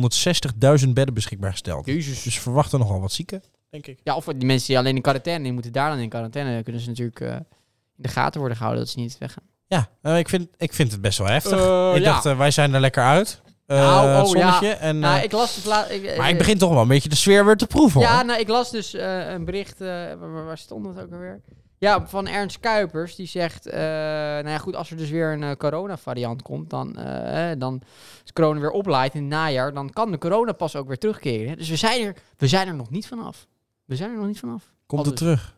Speaker 2: 160.000 bedden beschikbaar gesteld.
Speaker 1: Jezus.
Speaker 2: Dus verwachten nogal wat zieken,
Speaker 8: denk ik.
Speaker 1: Ja, of die mensen die alleen in quarantaine, die moeten daar dan in quarantaine. Dan kunnen ze natuurlijk eh, in de gaten worden gehouden dat ze niet weggaan.
Speaker 2: Ja, eh, ik, vind, ik vind het best wel heftig.
Speaker 1: Eh,
Speaker 2: ik
Speaker 1: ja.
Speaker 2: dacht, eh, wij zijn er lekker uit. Eh
Speaker 1: Nou, oh,
Speaker 2: het zonnetje. En,
Speaker 1: Nou,
Speaker 2: eh,
Speaker 1: ik las het laat. Ik,
Speaker 2: maar
Speaker 1: eh,
Speaker 2: ik begin toch wel een beetje de sfeer weer te proeven.
Speaker 1: Ja,
Speaker 2: hoor.
Speaker 1: nou, ik las dus eh, een bericht. eh, waar, waar- waar stond dat ook alweer? Ja, van Ernst Kuipers. Die zegt: eh, Nou ja, goed, als er dus weer een eh, coronavariant komt. Dan, eh, eh, dan als corona weer oplaait in het najaar. Dan kan de corona pas ook weer terugkeren. Dus we zijn er, we zijn er nog niet vanaf. We zijn er nog niet vanaf.
Speaker 2: Komt het
Speaker 1: Alles.
Speaker 2: terug?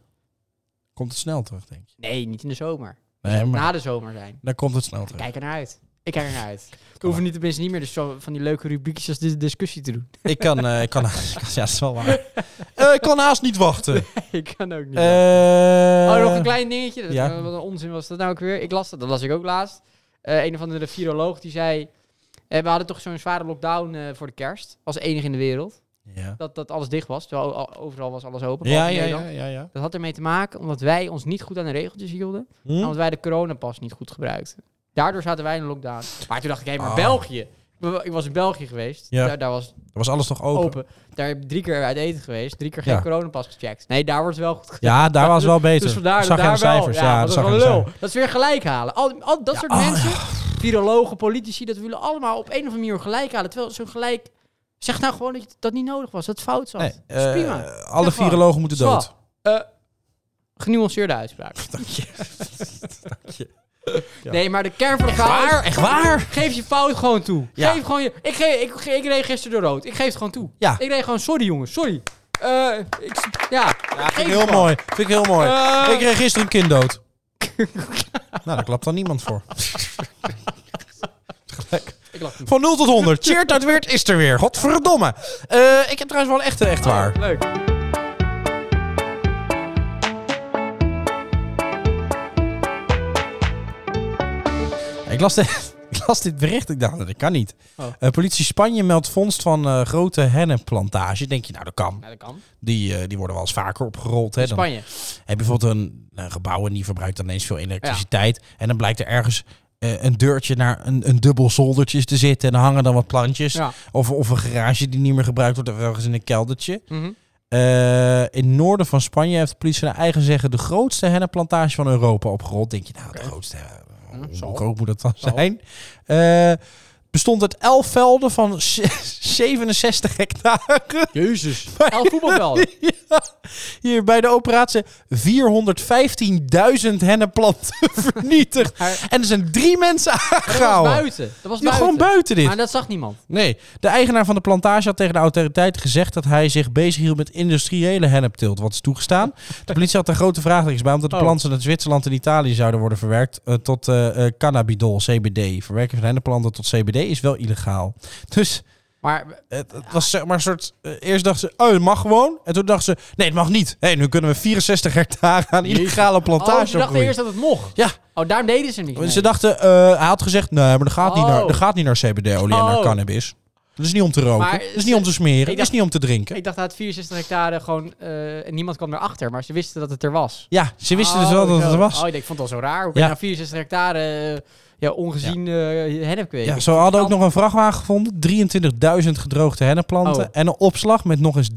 Speaker 2: Komt het snel terug, denk je?
Speaker 1: Nee, niet in de zomer.
Speaker 2: Nee, maar
Speaker 1: Na de zomer zijn.
Speaker 2: daar komt het snel
Speaker 1: Ik
Speaker 2: terug.
Speaker 1: nou. kijk er naar uit. Ik kijk er naar uit. We hoeven niet tenminste niet meer dus zo van die leuke rubriekjes als de discussie te doen.
Speaker 2: Ik kan, eh, ik kan, ja, dat is wel waar. Eh, ik kan haast niet wachten.
Speaker 1: ik kan ook niet.
Speaker 2: Eh,
Speaker 1: Oh, nog een klein dingetje. Dat,
Speaker 2: ja.
Speaker 1: Wat een onzin was dat nou ook weer. Ik las dat, dat las ik ook laatst. Eh, een of andere viroloog die zei... eh, we hadden toch zo'n zware lockdown eh, voor de kerst. Als enige in de wereld.
Speaker 2: Ja.
Speaker 1: Dat, dat alles dicht was. Terwijl o- overal was alles open.
Speaker 2: Ja,
Speaker 1: behalve in
Speaker 2: ja, ja,
Speaker 1: Nederland.
Speaker 2: ja, ja.
Speaker 1: Dat had ermee te maken omdat wij ons niet goed aan de regeltjes hielden.
Speaker 2: Hm?
Speaker 1: En omdat wij de coronapas niet goed gebruikten. Daardoor zaten wij in een lockdown. Maar toen dacht ik, hé, maar
Speaker 2: Ah.
Speaker 1: België. Ik- Ik was in België geweest.
Speaker 2: Ja.
Speaker 1: Daar, daar was het
Speaker 2: Er was alles nog
Speaker 1: open.
Speaker 2: open.
Speaker 1: Daar heb ik drie keer uit eten geweest. Drie keer geen
Speaker 2: Ja.
Speaker 1: coronapas gecheckt. Nee, daar wordt wel goed
Speaker 2: Ja, daar was wel beter.
Speaker 1: dus vandaar
Speaker 2: zag je aan
Speaker 1: daar
Speaker 2: de cijfers.
Speaker 1: wel.
Speaker 2: Ja,
Speaker 1: want
Speaker 2: dat
Speaker 1: dat
Speaker 2: zag
Speaker 1: is
Speaker 2: je
Speaker 1: wel
Speaker 2: aan
Speaker 1: lul.
Speaker 2: de cijfers.
Speaker 1: Dat is weer gelijk halen. Al, al dat soort
Speaker 2: oh,
Speaker 1: mensen, virologen, politici, dat willen allemaal op een of andere manier gelijk halen. Terwijl zo'n gelijk... Zeg nou gewoon dat je- dat niet nodig was, dat het fout zat.
Speaker 2: Nee,
Speaker 1: dat is
Speaker 2: eh,
Speaker 1: prima.
Speaker 2: alle
Speaker 1: Zeg gewoon.
Speaker 2: virologen moeten dood.
Speaker 1: Zo, eh, genuanceerde uitspraak. Nee, maar de kern van de fout...
Speaker 2: Waar? Echt waar?
Speaker 1: Geef je fout gewoon toe.
Speaker 2: Ja.
Speaker 1: Geef gewoon je... Ik, geef, ik, ik reed gisteren door rood. Ik geef het gewoon toe.
Speaker 2: Ja.
Speaker 1: Ik reed gewoon, sorry jongens, sorry. Eh, ik, ja.
Speaker 2: Ja, vind
Speaker 1: Geef
Speaker 2: ik heel
Speaker 1: het
Speaker 2: mooi. Vind ik heel mooi.
Speaker 1: Eh.
Speaker 2: Ik kreeg gisteren een kind dood. nou, daar klapt dan niemand voor.
Speaker 1: Ik lach niet.
Speaker 2: Van 0 tot 100. Cheert uit Weert is er weer. Godverdomme. Eh, ik heb trouwens wel een echte, echt waar.
Speaker 1: Leuk.
Speaker 2: Ik las, dit, ik las dit bericht. Ik dacht, dat kan niet.
Speaker 1: Oh.
Speaker 2: Eh, politie Spanje meldt vondst van eh, grote hennepplantage. Denk je, nou dat kan.
Speaker 1: Ja, dat kan.
Speaker 2: Die, eh, die worden wel eens vaker opgerold. Hè, dan
Speaker 1: Spanje. heb
Speaker 2: heb je bijvoorbeeld een, een gebouw en die verbruikt dan ineens veel elektriciteit. En dan blijkt er ergens eh, een deurtje naar een, een dubbel zoldertje te zitten. En dan hangen dan wat plantjes.
Speaker 1: Ja.
Speaker 2: Of, of een garage die niet meer gebruikt wordt. Of ergens in een keldertje.
Speaker 1: Mhm.
Speaker 2: Eh, in het noorden van Spanje heeft de politie naar eigen zeggen de grootste hennenplantage van Europa opgerold. Denk je, nou, de grootste. eh,
Speaker 1: Hm,
Speaker 2: hoe groot moet dat dan zijn? Eh, bestond uit elf velden van 67 hectare. Jezus.
Speaker 1: Elf voetbalvelden.
Speaker 2: Ja. Hier bij de operatie 415.000 hennenplanten vernietigd.
Speaker 1: Maar-
Speaker 2: En er zijn drie mensen
Speaker 1: Dat was
Speaker 2: aangehouden.
Speaker 1: buiten. Dat was
Speaker 2: Ja, gewoon buiten dit.
Speaker 1: Maar dat zag niemand.
Speaker 2: Nee, de eigenaar van de plantage had tegen de autoriteiten gezegd dat hij zich bezighield met industriële hennepteelt, wat is toegestaan. De politie had daar grote vraagtekens bij, omdat de
Speaker 1: Oh.
Speaker 2: planten uit Zwitserland en Italië zouden worden verwerkt eh, tot eh, eh, cannabidol, CBD. Verwerken van henneplanten tot CBD is wel illegaal. Dus
Speaker 1: Maar oh,
Speaker 2: het, het was zeg maar een soort. eh, eerst dachten ze, oh, het mag gewoon. En toen dachten ze, nee, het mag niet. Hé, nu kunnen we 64 hectare aan illegale
Speaker 1: oh,
Speaker 2: plantage
Speaker 1: ze dachten
Speaker 2: opgroeien.
Speaker 1: eerst dat het mocht.
Speaker 2: Ja.
Speaker 1: Oh, daarom deden ze niet.
Speaker 2: Want
Speaker 1: mee.
Speaker 2: Ze dachten, eh, hij had gezegd, nee, maar dat gaat, niet,
Speaker 1: Oh.
Speaker 2: naar, dat gaat niet naar CBD-olie en
Speaker 1: Oh.
Speaker 2: naar cannabis. Dat is niet om te roken,
Speaker 1: Maar
Speaker 2: dat is
Speaker 1: ze-
Speaker 2: niet om te smeren,
Speaker 1: ik
Speaker 2: dat
Speaker 1: dacht-
Speaker 2: is niet om te drinken.
Speaker 1: Ik dacht dat 64 hectare gewoon... eh, en niemand kwam erachter, maar ze wisten dat het er was.
Speaker 2: Ja, ze wisten dus
Speaker 1: Oh,
Speaker 2: wel dat het
Speaker 1: zo.
Speaker 2: er was.
Speaker 1: Oh, ik, denk, ik vond het al zo raar. Hoe kan je
Speaker 2: Ja.
Speaker 1: nou 64 hectare eh, ja, ongezien eh hennep kweken?
Speaker 2: Ja, ze hadden ook nog een vrachtwagen gevonden. 23.000 gedroogde hennepplanten.
Speaker 1: Oh.
Speaker 2: En een opslag met nog eens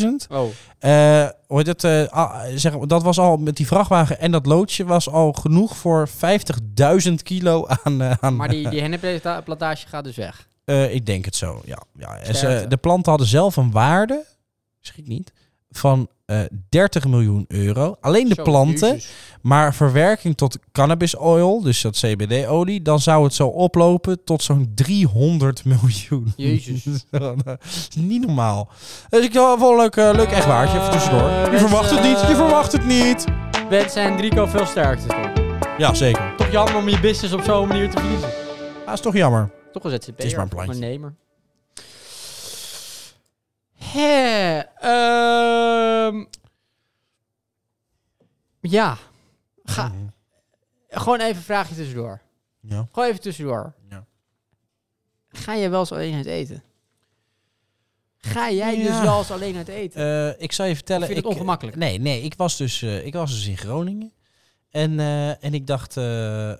Speaker 2: 13.000.
Speaker 1: Oh,
Speaker 2: Eh, hoe heet het, eh, ah, zeg, maar, dat was al met die vrachtwagen en dat loodje was al genoeg voor 50.000 kilo aan... eh, aan
Speaker 1: maar die, die hennepplantage gaat dus weg.
Speaker 2: eh, ik denk het zo, ja. ja. En ze-
Speaker 1: Sterkte.
Speaker 2: de planten hadden zelf een waarde, schrik niet, van eh 30 miljoen euro. Alleen de
Speaker 1: Zo,
Speaker 2: planten.
Speaker 1: jezus.
Speaker 2: Maar verwerking tot cannabis oil, dus dat CBD-olie, dan zou het zo oplopen tot zo'n 300 miljoen.
Speaker 1: Jezus.
Speaker 2: dat is niet normaal. Dus ik wil wel een leuk, eh, leuk echt waardje even tussendoor.
Speaker 1: Eh,
Speaker 2: Je
Speaker 1: dus,
Speaker 2: verwacht het
Speaker 1: eh,
Speaker 2: niet, je verwacht het niet.
Speaker 1: Wens en Drico veel sterkte. toch?
Speaker 2: Ja, zeker.
Speaker 1: Toch jammer om je business op zo'n manier te verliezen.
Speaker 2: Dat is toch jammer.
Speaker 1: Toch een ZZP'er.
Speaker 2: Het is maar een plantje.
Speaker 1: Ondernemer. Hè, ehm. ja. Ga, Gewoon even een vraagje tussendoor.
Speaker 2: Ja.
Speaker 1: Gewoon even tussendoor.
Speaker 2: Ja.
Speaker 1: Ga je wel eens alleen uit eten? Ga jij dus
Speaker 2: Ja.
Speaker 1: wel eens alleen uit eten?
Speaker 2: Eh, ik zal je vertellen.
Speaker 1: Of vind je
Speaker 2: ik,
Speaker 1: het ongemakkelijk?
Speaker 2: Nee, nee ik, was dus, eh, ik was dus in Groningen. En, eh, en ik dacht, eh,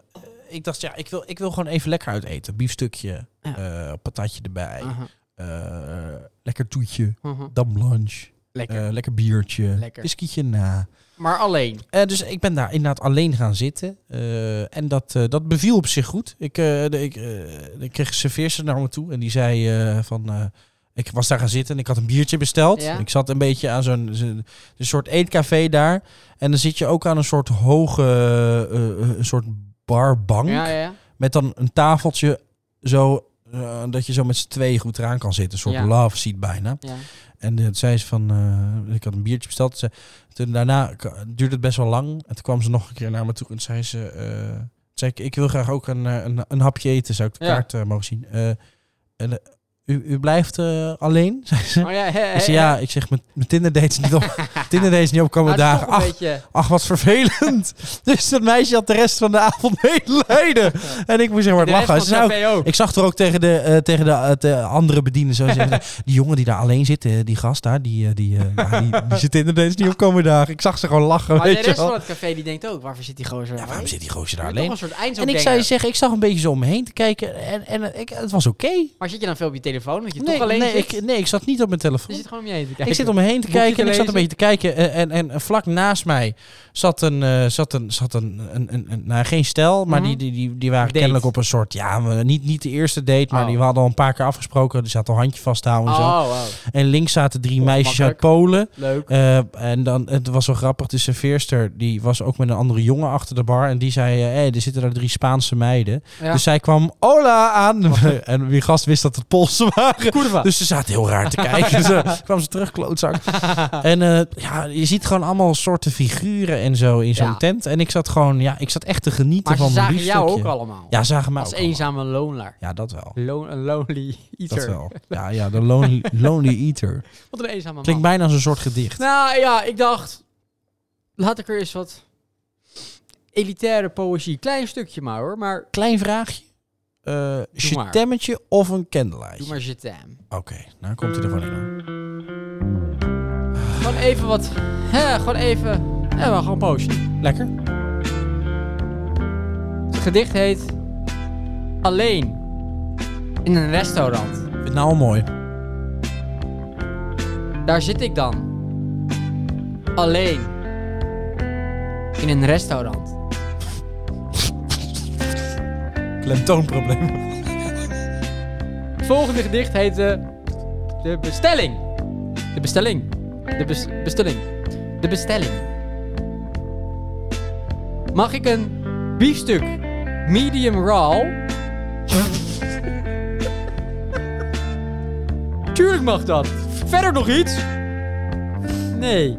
Speaker 2: ik dacht, ja, ik wil, ik wil gewoon even lekker uit eten. Biefstukje,
Speaker 1: Ja. Ah.
Speaker 2: eh, patatje erbij,
Speaker 1: Aha,
Speaker 2: eh, lekker toetje,
Speaker 1: aha.
Speaker 2: dam lunch. Eh,
Speaker 1: Lekker.
Speaker 2: lekker biertje.
Speaker 1: Lekker.
Speaker 2: Whiskietje na.
Speaker 1: maar alleen.
Speaker 2: Eh, dus ik ben daar inderdaad alleen gaan zitten. Eh, en dat, eh, dat beviel op zich goed. Ik, eh, de- ik, eh, ik kreeg een serveerster naar me toe. En die zei eh, van... eh, ik was daar gaan zitten en ik had een biertje besteld.
Speaker 1: Ja.
Speaker 2: Ik zat een beetje aan zo'n zo'n- een soort eetcafé daar. En dan zit je ook aan een soort hoge... eh, eh, een soort barbank.
Speaker 1: Ja, ja, ja.
Speaker 2: Met dan een tafeltje zo... eh, dat je zo met z'n tweeën goed eraan kan zitten. Een soort
Speaker 1: Ja.
Speaker 2: love seat bijna.
Speaker 1: ja.
Speaker 2: En toen zei ze van, eh, ik had een biertje besteld. Ze, toen daarna k- duurde het best wel lang. En toen kwam ze nog een keer naar me toe en zei ze, eh, toen zei ik, ik wil graag ook een, eh, een, een hapje eten. Zou ik de
Speaker 1: Ja.
Speaker 2: kaart eh, mogen zien? Eh, en, eh, u, u blijft eh, alleen? Zei ze.
Speaker 1: Oh, ja, hè, hè,
Speaker 2: Ik zei,
Speaker 1: hè.
Speaker 2: ja, ik zeg, mijn mijn Tinder dates niet op. Tinder dates niet opkomen
Speaker 1: Maar het Nou, is
Speaker 2: dagen.
Speaker 1: toch een
Speaker 2: Ach,
Speaker 1: beetje...
Speaker 2: ach, wat vervelend. dus dat meisje had de rest van de avond medelijden. En ik moest heel hard
Speaker 1: De rest
Speaker 2: lachen.
Speaker 1: van
Speaker 2: Ze zei ook,
Speaker 1: het café ook.
Speaker 2: ik zag er ook tegen de, eh, tegen de, eh, de andere bedienden zo zeggen. die jongen die daar alleen zit, eh, die gast daar, die, eh, die, eh, ja, die, die zit inderdaad niet op komende dagen. Ik zag ze gewoon lachen,
Speaker 1: Maar de
Speaker 2: weet je
Speaker 1: rest
Speaker 2: wel.
Speaker 1: van het café die denkt ook, waarvoor zit die gozer? nou
Speaker 2: Ja, waarom zit die gozer daar
Speaker 1: daar alleen?
Speaker 2: alleen?
Speaker 1: Een soort eindzoekdenger.
Speaker 2: En ik zou je zeggen, ik zag een beetje zo om me heen te kijken en, en ik, het was oké.
Speaker 1: Maar zit je dan veel op je telefoon? Dat je
Speaker 2: Nee,
Speaker 1: toch alleen
Speaker 2: nee,
Speaker 1: zit?
Speaker 2: ik, nee, ik zat niet op mijn
Speaker 1: Je
Speaker 2: telefoon.
Speaker 1: zit gewoon om je heen te kijken.
Speaker 2: Ik zit om me heen te
Speaker 1: Boekje
Speaker 2: kijken
Speaker 1: te
Speaker 2: en ik zat een beetje
Speaker 1: lezen.
Speaker 2: te kijken. eh, En, en, en vlak naast mij zat een, eh, zat een, zat een, een, een, een- nou geen stel, maar die,
Speaker 1: Mhm.
Speaker 2: die, die, die waren
Speaker 1: Date.
Speaker 2: kennelijk op een soort, ja, we- niet, niet de eerste date, maar
Speaker 1: Oh.
Speaker 2: die we hadden al een paar keer afgesproken. Die zaten al handje vasthouden
Speaker 1: Oh,
Speaker 2: en zo.
Speaker 1: wow.
Speaker 2: En links zaten drie
Speaker 1: Oh,
Speaker 2: meisjes uit
Speaker 1: makkelijk.
Speaker 2: Polen.
Speaker 1: leuk.
Speaker 2: Eh, en dan, het was wel grappig, de serveerster, die was ook met een andere jongen achter de bar. En die zei, hé, hey, er zitten daar drie Spaanse meiden.
Speaker 1: Ja.
Speaker 2: Dus zij kwam, hola, aan. En wie gast wist dat het Poolse waren.
Speaker 1: Kurva.
Speaker 2: Dus ze zaten heel raar te kijken. Ze kwam ze terug, klootzak. En eh, ja, je ziet gewoon allemaal soorten figuren en zo in zo'n
Speaker 1: Ja.
Speaker 2: tent. En ik zat gewoon, ja, ik zat echt te genieten
Speaker 1: maar ze
Speaker 2: van mijn
Speaker 1: zagen jou ook
Speaker 2: biefstukje.
Speaker 1: allemaal.
Speaker 2: Ja, zagen mij
Speaker 1: Als
Speaker 2: ook allemaal.
Speaker 1: eenzame loonlaar.
Speaker 2: Ja, dat wel.
Speaker 1: Loon, een lonely eater.
Speaker 2: Dat wel. Ja, ja, de lonely, lonely Eater.
Speaker 1: Wat een eenzame man.
Speaker 2: Klinkt bijna als een soort gedicht.
Speaker 1: Nou ja, ik dacht, laat ik er eens wat elitaire poëzie, klein stukje maar hoor, maar
Speaker 2: Klein vraagje. Eh
Speaker 1: maar.
Speaker 2: Chetemmetje of een
Speaker 1: doe
Speaker 2: candlelight?
Speaker 1: maar je tam.
Speaker 2: Oké, nou komt hij er gewoon in. hoor.
Speaker 1: Gewoon even wat, hè, gewoon even, hè, maar gewoon poëzie.
Speaker 2: Lekker.
Speaker 1: Het gedicht heet Alleen in een restaurant.
Speaker 2: Vind het nou al mooi.
Speaker 1: Daar zit ik dan. Alleen. In een restaurant.
Speaker 2: Klemtoonprobleem.
Speaker 1: Het volgende gedicht heette De Bestelling. De Bestelling. De bes- Bestelling. De Bestelling. Mag ik een biefstuk medium raw? Tuurlijk mag dat. Verder nog iets? Nee.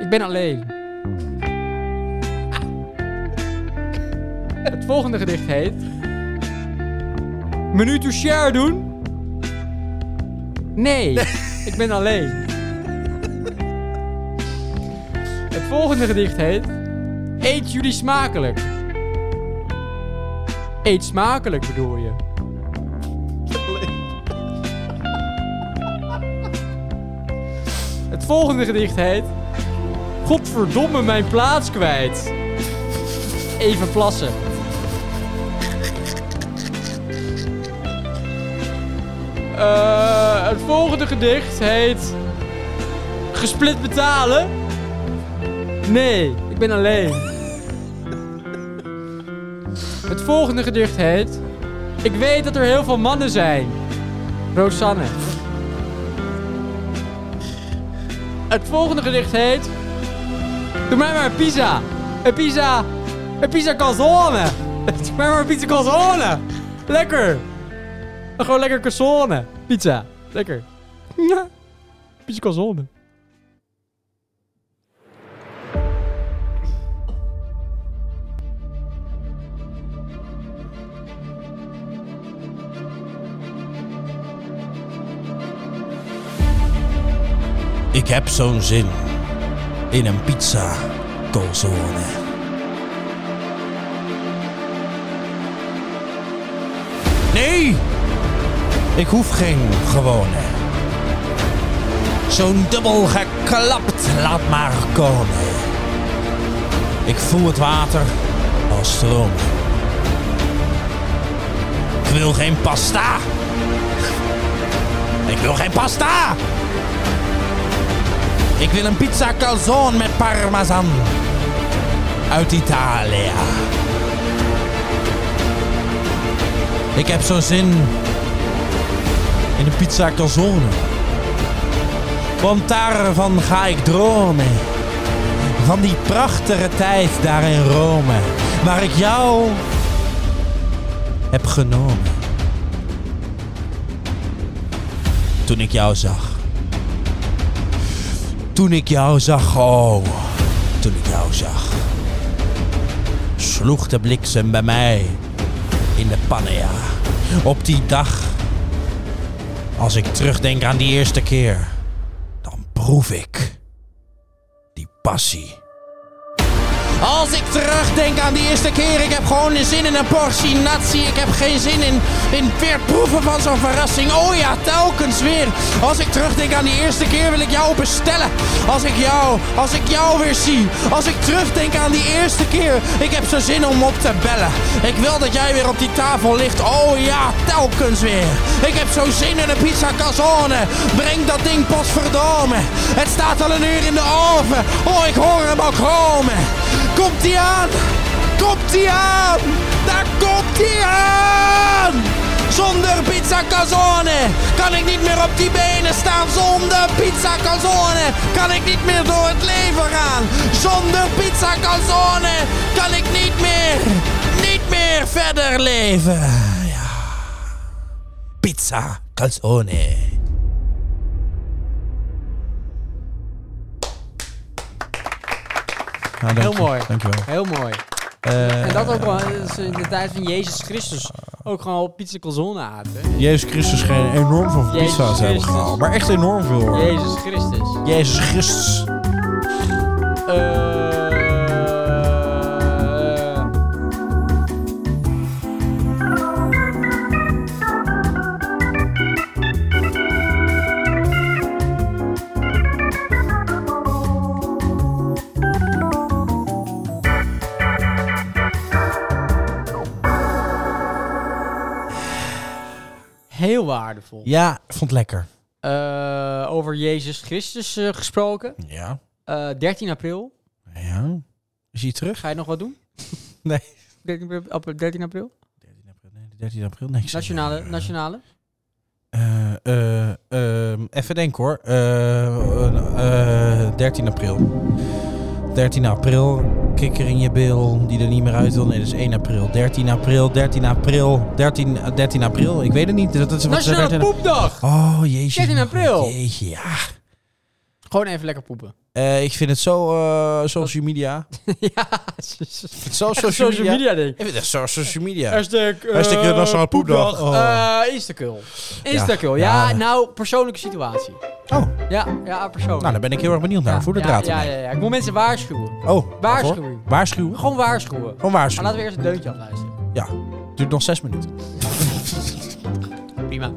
Speaker 1: Ik ben alleen. Het volgende gedicht heet Menu to share doen? Nee, ik ben alleen. Het volgende gedicht heet Eet jullie smakelijk. Eet smakelijk bedoel je. Het volgende gedicht heet Godverdomme mijn plaats kwijt. Even plassen. Eh, het volgende gedicht heet. Gesplit betalen? Nee, ik ben alleen. Het volgende gedicht heet. Ik weet dat er heel veel mannen zijn. Rosanne. Het volgende gedicht heet. Doe mij maar een pizza. Een pizza. Een pizza calzone. Doe mij maar een pizza calzone. Lekker. Dan Gewoon lekker calzone. Pizza. Lekker. Ja. Pizza calzone.
Speaker 2: Ik heb zo'n zin in een pizza calzone. Nee, ik hoef geen gewone. Zo'n dubbel geklapt laat maar komen. Ik voel het water als stroom. Ik wil geen pasta. Ik wil geen pasta. Ik wil een pizza calzone met parmesan. Uit Italië. Ik heb zo'n zin in een pizza calzone. Want daarvan ga ik dromen. Van die prachtige tijd daar in Rome. Waar ik jou heb genomen. Toen ik jou zag. Toen ik jou zag, oh, toen ik jou zag, sloeg de bliksem bij mij in de pannen, ja. Op die dag, als ik terugdenk aan die eerste keer, dan proef ik die passie. Als ik terugdenk aan die eerste keer, ik heb gewoon een zin in een portie nazi. Ik heb geen zin in, in weer proeven van zo'n verrassing. Oh ja, telkens weer. Als ik terugdenk aan die eerste keer, wil ik jou bestellen. Als ik jou, als ik jou weer zie. Als ik terugdenk aan die eerste keer, ik heb zo zin om op te bellen. Ik wil dat jij weer op die tafel ligt. Oh ja, telkens weer. Ik heb zo zin in een pizza calzone. Breng dat ding potverdomme. Het staat al een uur in de oven. Oh, ik hoor hem al komen. Komt ie aan! Komt ie aan! Daar komt ie aan! Zonder pizza calzone kan ik niet meer op die benen staan. Zonder pizza calzone kan ik niet meer door het leven gaan. Zonder pizza calzone kan ik niet meer, niet meer verder leven. Ja. Pizza calzone. Nou,
Speaker 1: Heel mooi.
Speaker 2: Dankjewel.
Speaker 1: Heel mooi. en dat ook wel dat is in de tijd van Jezus Christus. Ook gewoon pizza calzone aten.
Speaker 2: Jezus Christus geen enorm veel
Speaker 1: Jezus
Speaker 2: pizza's hebben
Speaker 1: Christus.
Speaker 2: gehaald. Maar echt enorm veel hoor.
Speaker 1: Jezus Christus.
Speaker 2: Jezus Christus.
Speaker 1: Eh. Heel waardevol.
Speaker 2: Ja, vond het lekker.
Speaker 1: Eh, over Jezus Christus eh, gesproken.
Speaker 2: Ja.
Speaker 1: Eh, 13 april.
Speaker 2: Ja. Is hij terug?
Speaker 1: Ga je nog wat doen?
Speaker 2: Nee.
Speaker 1: 13 april? ap- 13 april?
Speaker 2: 13 april, nee, 13 april, niks.
Speaker 1: Nationale, nationale.
Speaker 2: Eh, eh, ehm, even denken hoor. Eh, eh, eh, 13 april. 13 april, kikker in je bil die er niet meer uit wil. Nee, dat is 1 april. 13 april, 13 april, 13, eh, 13 april. Ik weet het niet. Dat is wat ze
Speaker 1: Nationale
Speaker 2: 13
Speaker 1: poepdag!
Speaker 2: Oh, jeetje.
Speaker 1: 13 april.
Speaker 2: Jeetje, ja.
Speaker 1: Gewoon even lekker poepen.
Speaker 2: Eh, ik vind het zo eh, social media.
Speaker 1: ja,
Speaker 2: Het is zo
Speaker 1: social media ding.
Speaker 2: Ik vind het echt zo social media.
Speaker 1: Hashtag, uh,
Speaker 9: Hashtag, eh, Nationale Poepdag.
Speaker 1: Instacul. Instacul, ja,
Speaker 2: Oh. Ja.
Speaker 1: nou, persoonlijke situatie.
Speaker 2: Oh.
Speaker 1: Ja, ja, persoonlijk.
Speaker 2: Nou, daar ben ik heel erg benieuwd naar. Voer de
Speaker 1: ja,
Speaker 2: draad
Speaker 1: ja, ja,
Speaker 2: ermee.
Speaker 1: ja, Ik moet mensen waarschuwen.
Speaker 2: Oh,
Speaker 1: Waarschuwing.
Speaker 2: waarvoor? Waarschuwen.
Speaker 1: Gewoon waarschuwen.
Speaker 2: Gewoon
Speaker 1: Maar
Speaker 2: waarschuwen.
Speaker 1: laten we eerst een deuntje afluisteren. Oh,
Speaker 2: Ja, duurt nog zes minuten.
Speaker 1: Prima.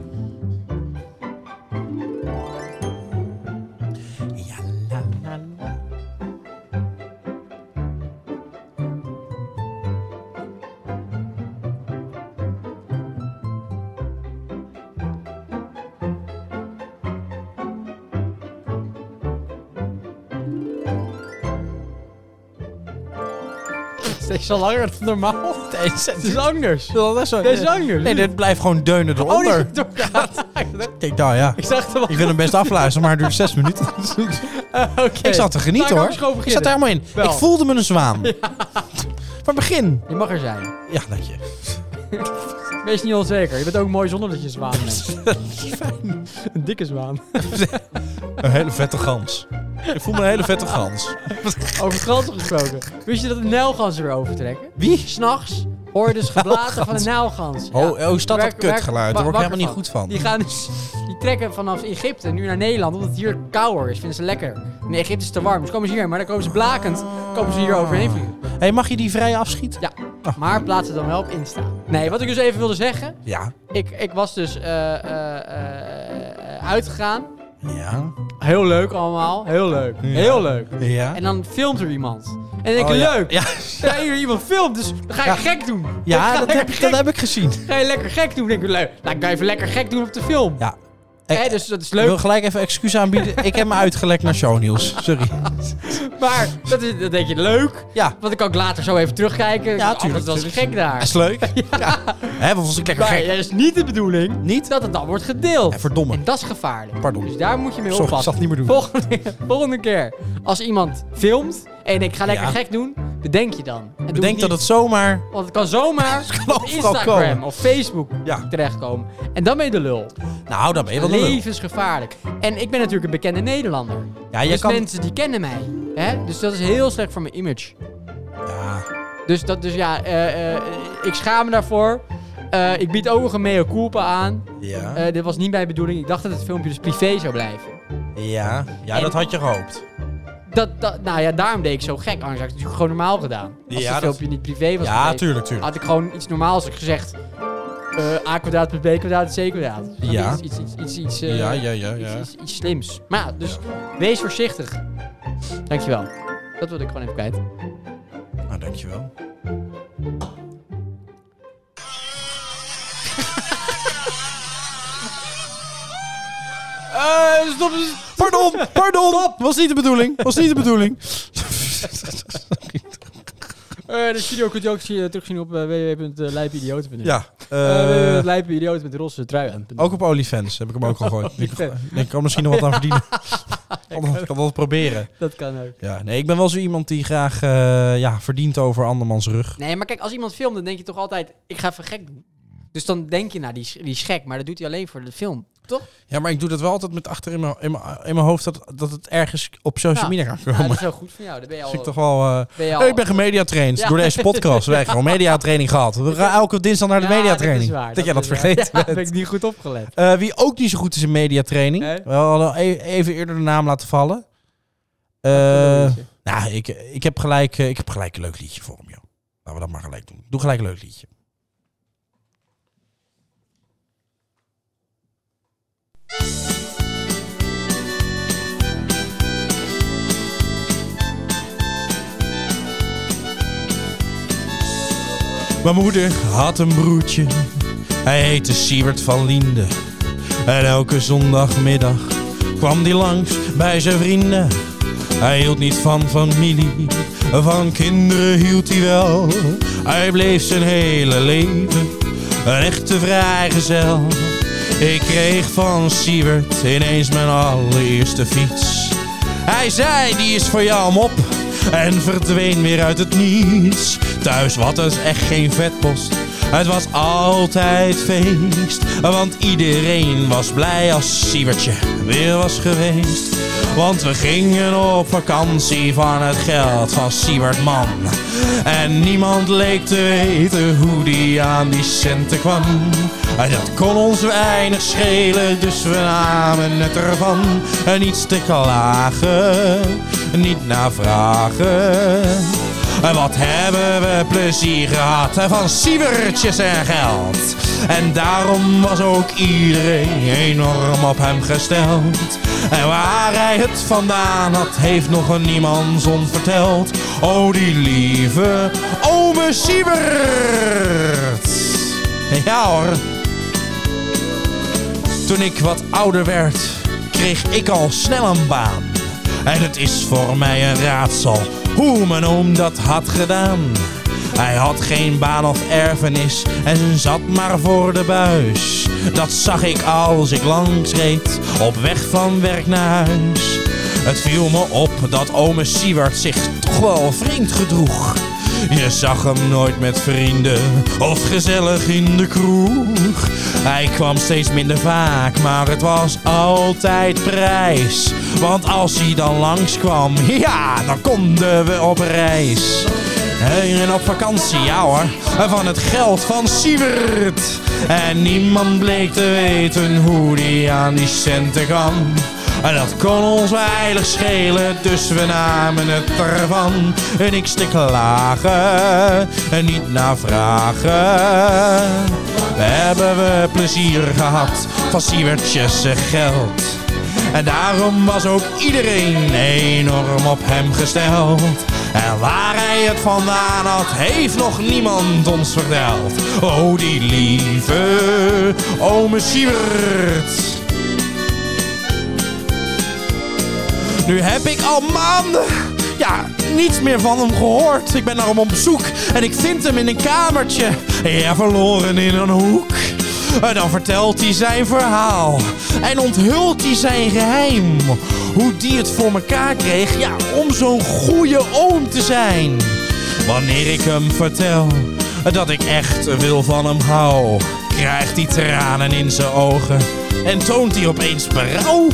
Speaker 2: Ja, la, la, la.
Speaker 1: Steeds zo langer dan normaal. Het is anders.
Speaker 2: Nee,
Speaker 1: Dit is anders.
Speaker 2: Nee, dit blijft gewoon deunen
Speaker 1: Oh, die
Speaker 2: eronder.
Speaker 1: is doorgegaan.
Speaker 2: Kijk daar, ja.
Speaker 1: Ik zag er wel.
Speaker 2: Ik wil hem best afluisteren, maar het duurt zes minuten.
Speaker 1: Oké.
Speaker 2: Ik zat te
Speaker 1: Nou,
Speaker 2: genieten
Speaker 1: kan
Speaker 2: hoor.
Speaker 1: ik gewoon
Speaker 2: Ik zat er
Speaker 1: beginnen.
Speaker 2: helemaal in.
Speaker 1: Wel.
Speaker 2: Ik voelde me een zwaan. Van begin.
Speaker 1: Je mag er zijn.
Speaker 2: Ja, dank je.
Speaker 1: Wees niet onzeker. Je bent ook mooi zonder dat je zwaan bent. Een dikke zwaan.
Speaker 9: Een hele vette gans. Ik voel me een hele vette gans.
Speaker 1: Over ganzen gesproken. Wist je dat de nijlgans weer overtrekken? Wie? S'nachts hoor je dus geblazen van de nijlgans. Ja.
Speaker 2: Oh, oh, is dat dat
Speaker 1: Werk- werk-
Speaker 2: kutgeluid? Daar
Speaker 1: wa-
Speaker 2: word
Speaker 1: wakker
Speaker 2: ik helemaal niet goed van.
Speaker 1: Die, gaan dus, die trekken vanaf Egypte nu naar Nederland, omdat het hier kouder is. Vinden ze lekker. In Egypte is het te warm. Dus komen ze hier, maar dan komen ze blakend. Komen ze hier overheen vliegen.
Speaker 2: hey, mag je die vrij afschieten?
Speaker 1: Ja, maar plaats het dan wel op Insta. Nee, wat ik dus even wilde zeggen.
Speaker 2: Ja.
Speaker 1: Ik, ik was dus eh, eh, eh, eh, uitgegaan.
Speaker 2: Ja.
Speaker 1: Heel leuk allemaal. Heel leuk. Heel leuk.
Speaker 2: Ja.
Speaker 1: En dan filmt er iemand. En dan denk ik,
Speaker 2: Oh, ja.
Speaker 1: leuk.
Speaker 2: Ja,
Speaker 1: Ja, hier iemand filmt, dus dan ga je gek doen. Dan
Speaker 2: ja
Speaker 1: ga je
Speaker 2: dat,
Speaker 1: lekker
Speaker 2: heb,
Speaker 1: gek-
Speaker 2: dat heb ik gezien.
Speaker 1: ga je lekker gek doen. Dan denk ik, leuk. Nou, ik ga even lekker gek doen op de film.
Speaker 2: Ja. Eh,
Speaker 1: Hè, dus dat is
Speaker 2: Ik wil
Speaker 1: leuk.
Speaker 2: gelijk even excuus aanbieden. Ik heb me uitgelekt naar shownieuws. Sorry.
Speaker 1: Maar dat, is, dat denk je leuk.
Speaker 2: Ja.
Speaker 1: Want dan kan ik later zo even terugkijken.
Speaker 2: Ja,
Speaker 1: Oh,
Speaker 2: tuurlijk,
Speaker 1: Dat was
Speaker 2: tuurlijk.
Speaker 1: gek daar.
Speaker 2: Is leuk. Ja. Hè, want was ik lekker
Speaker 1: Maar
Speaker 2: gek.
Speaker 1: dat is niet de bedoeling
Speaker 2: Niet?
Speaker 1: dat het dan wordt gedeeld.
Speaker 2: Ja, verdomme.
Speaker 1: En dat is gevaarlijk.
Speaker 2: Pardon.
Speaker 1: Dus daar moet je mee
Speaker 2: Sorry,
Speaker 1: oppassen.
Speaker 2: ik zal het niet meer doen.
Speaker 1: Volgende, volgende keer. Als iemand filmt en ik ga lekker
Speaker 2: Ja.
Speaker 1: gek doen, bedenk je dan. En doe
Speaker 2: Bedenk
Speaker 1: niet.
Speaker 2: dat het zomaar...
Speaker 1: Want het kan zomaar
Speaker 2: kan
Speaker 1: op
Speaker 2: overal
Speaker 1: Instagram
Speaker 2: komen.
Speaker 1: of Facebook
Speaker 2: Ja.
Speaker 1: terechtkomen. En dan ben je de lul.
Speaker 2: Nou, dan ben je wel een lul.
Speaker 1: Levensgevaarlijk. En ik ben natuurlijk een bekende Nederlander.
Speaker 2: Ja, jij
Speaker 1: dus
Speaker 2: kan...
Speaker 1: mensen die kennen mij. Hè? Dus dat is heel slecht voor mijn image.
Speaker 2: Ja.
Speaker 1: Dus, dat, dus ja, eh, eh, ik schaam me daarvoor. Eh, ik bied ook een mea culpa aan.
Speaker 2: Ja.
Speaker 1: Eh, dit was niet mijn bedoeling. Ik dacht dat het filmpje dus privé zou blijven.
Speaker 2: Ja. Ja,
Speaker 1: en-
Speaker 2: Eh, dat had je gehoopt.
Speaker 1: Dat, dat, nou ja, daarom deed ik zo gek. Anders had ik het natuurlijk gewoon normaal gedaan. Als
Speaker 2: Ja,
Speaker 1: het
Speaker 2: dat-
Speaker 1: filmpje niet privé was
Speaker 2: Ja,
Speaker 1: gebleven,
Speaker 2: tuurlijk, tuurlijk.
Speaker 1: had ik gewoon iets normaals gezegd. Eh A kwadraat plus B kwadraat is C kwadraat. Snap je?
Speaker 2: Ja.
Speaker 1: Iets, iets, iets, iets, eh,
Speaker 2: Ja, ja, ja,
Speaker 1: iets,
Speaker 2: ja.
Speaker 1: iets, iets slims. Maar ja, dus wees voorzichtig. Dankjewel. Dat wilde ik gewoon even kwijt.
Speaker 2: Nou, dankjewel. Eh stop. Pardon, pardon. Was niet de bedoeling. Was niet de bedoeling.
Speaker 1: Eh, de studio kunt u ook zie- terugzien op uh, www.lijpidioten.nl
Speaker 2: Ja.
Speaker 1: Eh,
Speaker 2: eh,
Speaker 1: Lijpidioten met roze trui aan.
Speaker 2: ook op OnlyFans heb ik hem ook gegooid. Ik, ik kan misschien nog wat aan verdienen. Ik kan, kan dat proberen.
Speaker 1: Dat kan ook.
Speaker 2: Ja, nee, ik ben wel zo iemand die graag eh, ja, verdient over andermans rug.
Speaker 1: Nee, maar kijk, als iemand filmt, dan denk je toch altijd... Ik ga even gek doen. Dus dan denk je, nou, die is, die is gek. Maar dat doet hij alleen voor de film. Toch?
Speaker 2: Ja, maar ik doe dat wel altijd met achter in mijn, in mijn, in mijn hoofd dat, dat het ergens op social
Speaker 1: Ja.
Speaker 2: media kan
Speaker 1: Nou,
Speaker 2: komen.
Speaker 1: dat is wel goed van jou. Dan ben je
Speaker 2: Dus ik
Speaker 1: al...
Speaker 2: toch wel. eh,
Speaker 1: Ben je al
Speaker 2: hey, ik ben gemediatraind
Speaker 1: Ja.
Speaker 2: door deze podcast. We hebben gewoon mediatraining gehad. We gaan elke dinsdag naar de
Speaker 1: Ja,
Speaker 2: mediatraining.
Speaker 1: Dat, is waar,
Speaker 2: dat jij dat
Speaker 1: is waar.
Speaker 2: vergeet.
Speaker 1: Ja, ben ik niet goed opgelet.
Speaker 2: Eh, wie ook niet zo goed is in mediatraining.
Speaker 1: Nee.
Speaker 2: We hadden e- even eerder de naam laten vallen. Eh, nou, ik, ik, heb gelijk, eh, ik heb gelijk een leuk liedje voor hem, joh. Laten we dat maar gelijk doen. Doe gelijk een leuk liedje. Mijn moeder had een broertje. Hij heette Siewert van Liende. En elke zondagmiddag kwam hij langs bij zijn vrienden. Hij hield niet van familie, van kinderen hield hij wel. Hij bleef zijn hele leven een echte vrijgezel. Ik kreeg van Siewert ineens mijn allereerste fiets. Hij zei, die is voor jou om op. En verdween weer uit het niets. Thuis was het echt geen vetpost. Het was altijd feest. Want iedereen was blij als Siebertje weer was geweest. Want we gingen op vakantie van het geld van Siebert Man. En niemand leek te weten hoe die aan die centen kwam. En dat kon ons weinig schelen, dus we namen het ervan. En niets te klagen, niet naar vragen. En wat hebben we plezier gehad hè, van sievertjes en geld. En daarom was ook iedereen enorm op hem gesteld. En waar hij het vandaan had, heeft nog niemand zon verteld. Oh, die lieve ome Sievert. Ja hoor. Toen ik wat ouder werd, kreeg ik al snel een baan. En het is voor mij een raadsel hoe mijn oom dat had gedaan. Hij had geen baan of erfenis en zat maar voor de buis. Dat zag ik als ik langs reed, op weg van werk naar huis. Het viel me op dat ome Siewert zich toch wel vreemd gedroeg. Je zag hem nooit met vrienden of gezellig in de kroeg. Hij kwam steeds minder vaak, maar het was altijd prijs. Want als hij dan langskwam, ja, dan konden we op reis. En op vakantie, ja hoor, van het geld van Sievert. En niemand bleek te weten hoe die aan die centen kwam. En dat kon ons weinig schelen, dus we namen het ervan. En niks te klagen, en niet naar vragen. Hebben we plezier gehad van Siewertjes en geld. En daarom was ook iedereen enorm op hem gesteld. En waar hij het vandaan had, heeft nog niemand ons verteld. Oh, die lieve ome Siewert. Nu heb ik al maanden, ja, niets meer van hem gehoord. Ik ben naar hem op zoek en ik vind hem in een kamertje. Ja, verloren in een hoek. En dan vertelt hij zijn verhaal en onthult hij zijn geheim. Hoe die het voor elkaar kreeg, ja, om zo'n goede oom te zijn. Wanneer ik hem vertel dat ik echt wil van hem hou, krijgt hij tranen in zijn ogen en toont hij opeens berouw.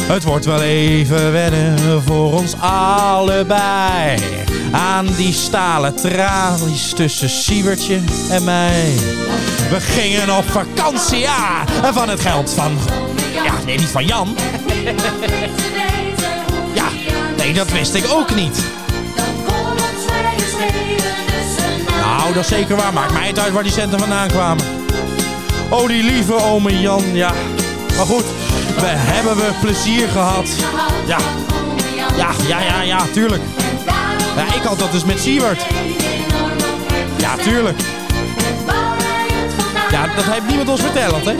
Speaker 2: Het wordt wel even wennen voor ons allebei. Aan die stalen tralies tussen Siebertje en mij. We gingen op vakantie, ja. En van het geld van... Ja, nee, niet van Jan. Ja, nee, dat wist ik ook niet. Nou, dat is zeker waar. Maakt mij het uit waar die centen vandaan kwamen. Oh, die lieve ome Jan, ja. Maar goed, we hebben we plezier gehad. Ja, ja, ja, ja, ja, tuurlijk. Ja, ik had dat dus met Siewert. Ja, tuurlijk. Ja, dat heeft niemand ons verteld, hè?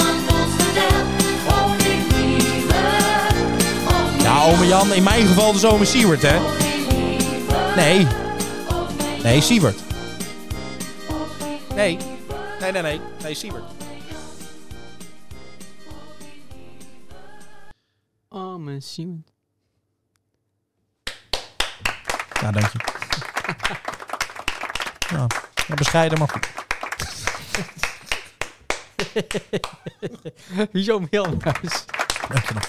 Speaker 2: Ja, ome Jan, in mijn geval dus ome Siewert, hè? Nee. Nee, Siewert. Nee. Nee, nee, nee. Nee, Siebert.
Speaker 1: Oh, mijn Simon.
Speaker 2: Ja, dank je. Ja, ja, bescheiden, maar goed.
Speaker 1: Wieso Milmuis?
Speaker 2: Dank je nog.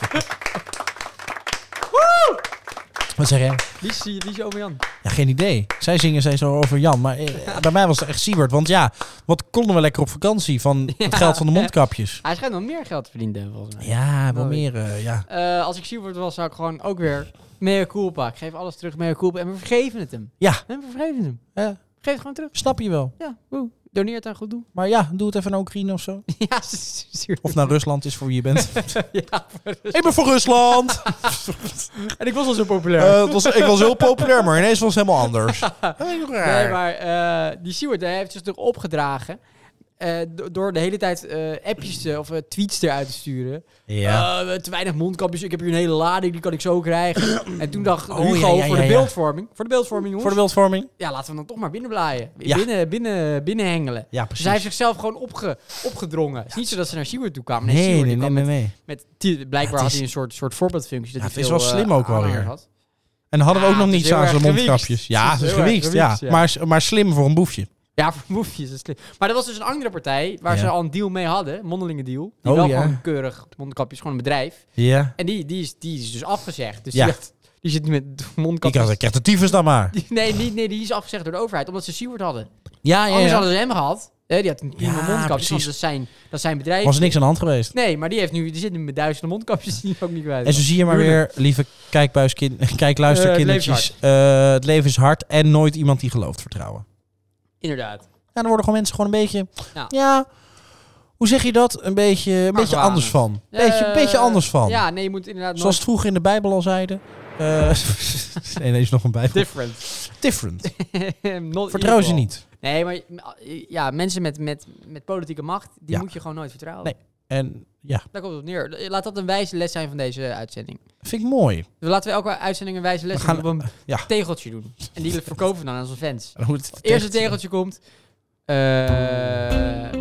Speaker 2: Wat zeg jij?
Speaker 1: Wie is, wie is ome Jan?
Speaker 2: Ja, geen idee. Zij zingen zij zo over Jan, maar eh, bij mij was het echt Siebert. Want ja, wat konden we lekker op vakantie van het
Speaker 1: Ja,
Speaker 2: geld van de
Speaker 1: hè?
Speaker 2: mondkapjes?
Speaker 1: Hij schijnt wel meer geld te verdienen, te hebben, volgens mij.
Speaker 2: Ja, wel
Speaker 1: Mooi.
Speaker 2: meer, eh, ja.
Speaker 1: Eh, als ik Siebert was, zou ik gewoon ook weer mea culpa. Ik geef alles terug, mea culpa. En we vergeven het hem.
Speaker 2: Ja.
Speaker 1: En we vergeven hem.
Speaker 2: Ja.
Speaker 1: Geef het gewoon terug.
Speaker 2: Eh, Snap je wel.
Speaker 1: Ja, woe. Doneer het aan goed doen.
Speaker 2: Maar ja, doe het even naar Oekraïne of zo.
Speaker 1: ja, zuur.
Speaker 2: Of naar Rusland is voor wie je bent.
Speaker 1: Ja,
Speaker 2: Ik ben voor Rusland!
Speaker 1: en ik was al zo populair.
Speaker 2: Eh, het was, ik was heel populair, maar ineens was het helemaal anders. Heel raar.
Speaker 1: Nee, maar eh, die Siewert hij heeft zich toch opgedragen eh, do- door de hele tijd eh, appjes eh, of eh, tweets eruit te sturen.
Speaker 2: Ja.
Speaker 1: Eh, te weinig mondkapjes, ik heb hier een hele lading, die kan ik zo krijgen. en toen dacht
Speaker 2: Oh,
Speaker 1: Hugo
Speaker 2: ja, ja,
Speaker 1: voor
Speaker 2: ja,
Speaker 1: de
Speaker 2: ja.
Speaker 1: beeldvorming, voor de beeldvorming jongens,
Speaker 2: voor de beeldvorming.
Speaker 1: ja laten we hem dan toch maar binnenblaaien.
Speaker 2: Ja.
Speaker 1: Binnen, binnen, binnenhengelen.
Speaker 2: Ja,
Speaker 1: Dus hij heeft zichzelf gewoon opge, opgedrongen. Het is niet zo dat ze naar Siewert toe kwamen. Nee,
Speaker 2: Nee,
Speaker 1: Siewert,
Speaker 2: nee,
Speaker 1: die
Speaker 2: nee,
Speaker 1: kwam
Speaker 2: nee,
Speaker 1: met,
Speaker 2: nee.
Speaker 1: met die- blijkbaar
Speaker 2: Ja, het
Speaker 1: had hij een soort, soort voorbeeldfunctie. Dat hij
Speaker 2: Ja, het is
Speaker 1: veel,
Speaker 2: wel
Speaker 1: eh,
Speaker 2: slim ook wel
Speaker 1: aanhangers
Speaker 2: weer.
Speaker 1: had.
Speaker 2: En hadden we ook
Speaker 1: Ah,
Speaker 2: nog
Speaker 1: het
Speaker 2: niet
Speaker 1: is heel
Speaker 2: aan
Speaker 1: erg
Speaker 2: zijn mondkapjes.
Speaker 1: gewiekst.
Speaker 2: Ja,
Speaker 1: Het
Speaker 2: ze
Speaker 1: is
Speaker 2: is
Speaker 1: heel erg
Speaker 2: gewiekst, ja.
Speaker 1: gewiekst, ja.
Speaker 2: Maar, maar slim voor een boefje.
Speaker 1: Ja, voor moefjes is slim. Maar dat was dus een andere partij waar
Speaker 2: Ja.
Speaker 1: ze al een deal mee hadden, mondelinge deal. Die
Speaker 2: Oh,
Speaker 1: wel
Speaker 2: ja.
Speaker 1: gewoon keurig mondkapjes, gewoon een bedrijf.
Speaker 2: Ja.
Speaker 1: En die, die, is, die is dus afgezegd. Dus
Speaker 2: Ja.
Speaker 1: die, had- die zit nu met
Speaker 2: Ik
Speaker 1: mondkapjes.
Speaker 2: had ik krijg de tyfus dan maar.
Speaker 1: Die- nee, niet, nee, die is afgezegd door de overheid, omdat ze Seward hadden.
Speaker 2: Ah, Ja, ja,
Speaker 1: Anders
Speaker 2: ja.
Speaker 1: hadden ze hem gehad. Hè, die had een prima
Speaker 2: Ja,
Speaker 1: mondkapjes,
Speaker 2: precies.
Speaker 1: want dat is zijn, dat is zijn bedrijf.
Speaker 2: Was er niks aan de hand geweest.
Speaker 1: Nee, maar die, heeft nu, die zit nu met duizenden mondkapjes die hij ook niet kwijt
Speaker 2: En zo zie je maar weer, lieve kijkbuiskin, kijkluisterkindertjes. eh, het leven is hard en nooit iemand die gelooft vertrouwen.
Speaker 1: Inderdaad.
Speaker 2: Ja, dan worden gewoon mensen gewoon een beetje,
Speaker 1: Ja.
Speaker 2: ja, hoe zeg je dat? Een beetje, een beetje
Speaker 1: Argwanend.
Speaker 2: anders van. Beetje,
Speaker 1: Eh,
Speaker 2: een beetje anders van.
Speaker 1: Ja, nee, je moet inderdaad
Speaker 2: Zoals
Speaker 1: Zoals
Speaker 2: het vroeger in de Bijbel al zeiden. Eh nee, er is nog een Bijbel.
Speaker 1: different.
Speaker 2: Different.
Speaker 1: Not
Speaker 2: Vertrouw ze
Speaker 1: equal.
Speaker 2: niet.
Speaker 1: Nee, maar ja, mensen met, met, met politieke macht, die
Speaker 2: Ja.
Speaker 1: moet je gewoon nooit vertrouwen.
Speaker 2: Nee. En ja,
Speaker 1: Daar komt het op neer. Laat dat een wijze les zijn van deze uitzending.
Speaker 2: vind ik mooi.
Speaker 1: Dus laten we elke uitzending een wijze les
Speaker 2: We gaan-
Speaker 1: doen, op een
Speaker 2: ja.
Speaker 1: tegeltje doen. En die verkopen we dan aan onze fans.
Speaker 2: Dan moet het-
Speaker 1: Het eerste tegeltje komt... eh,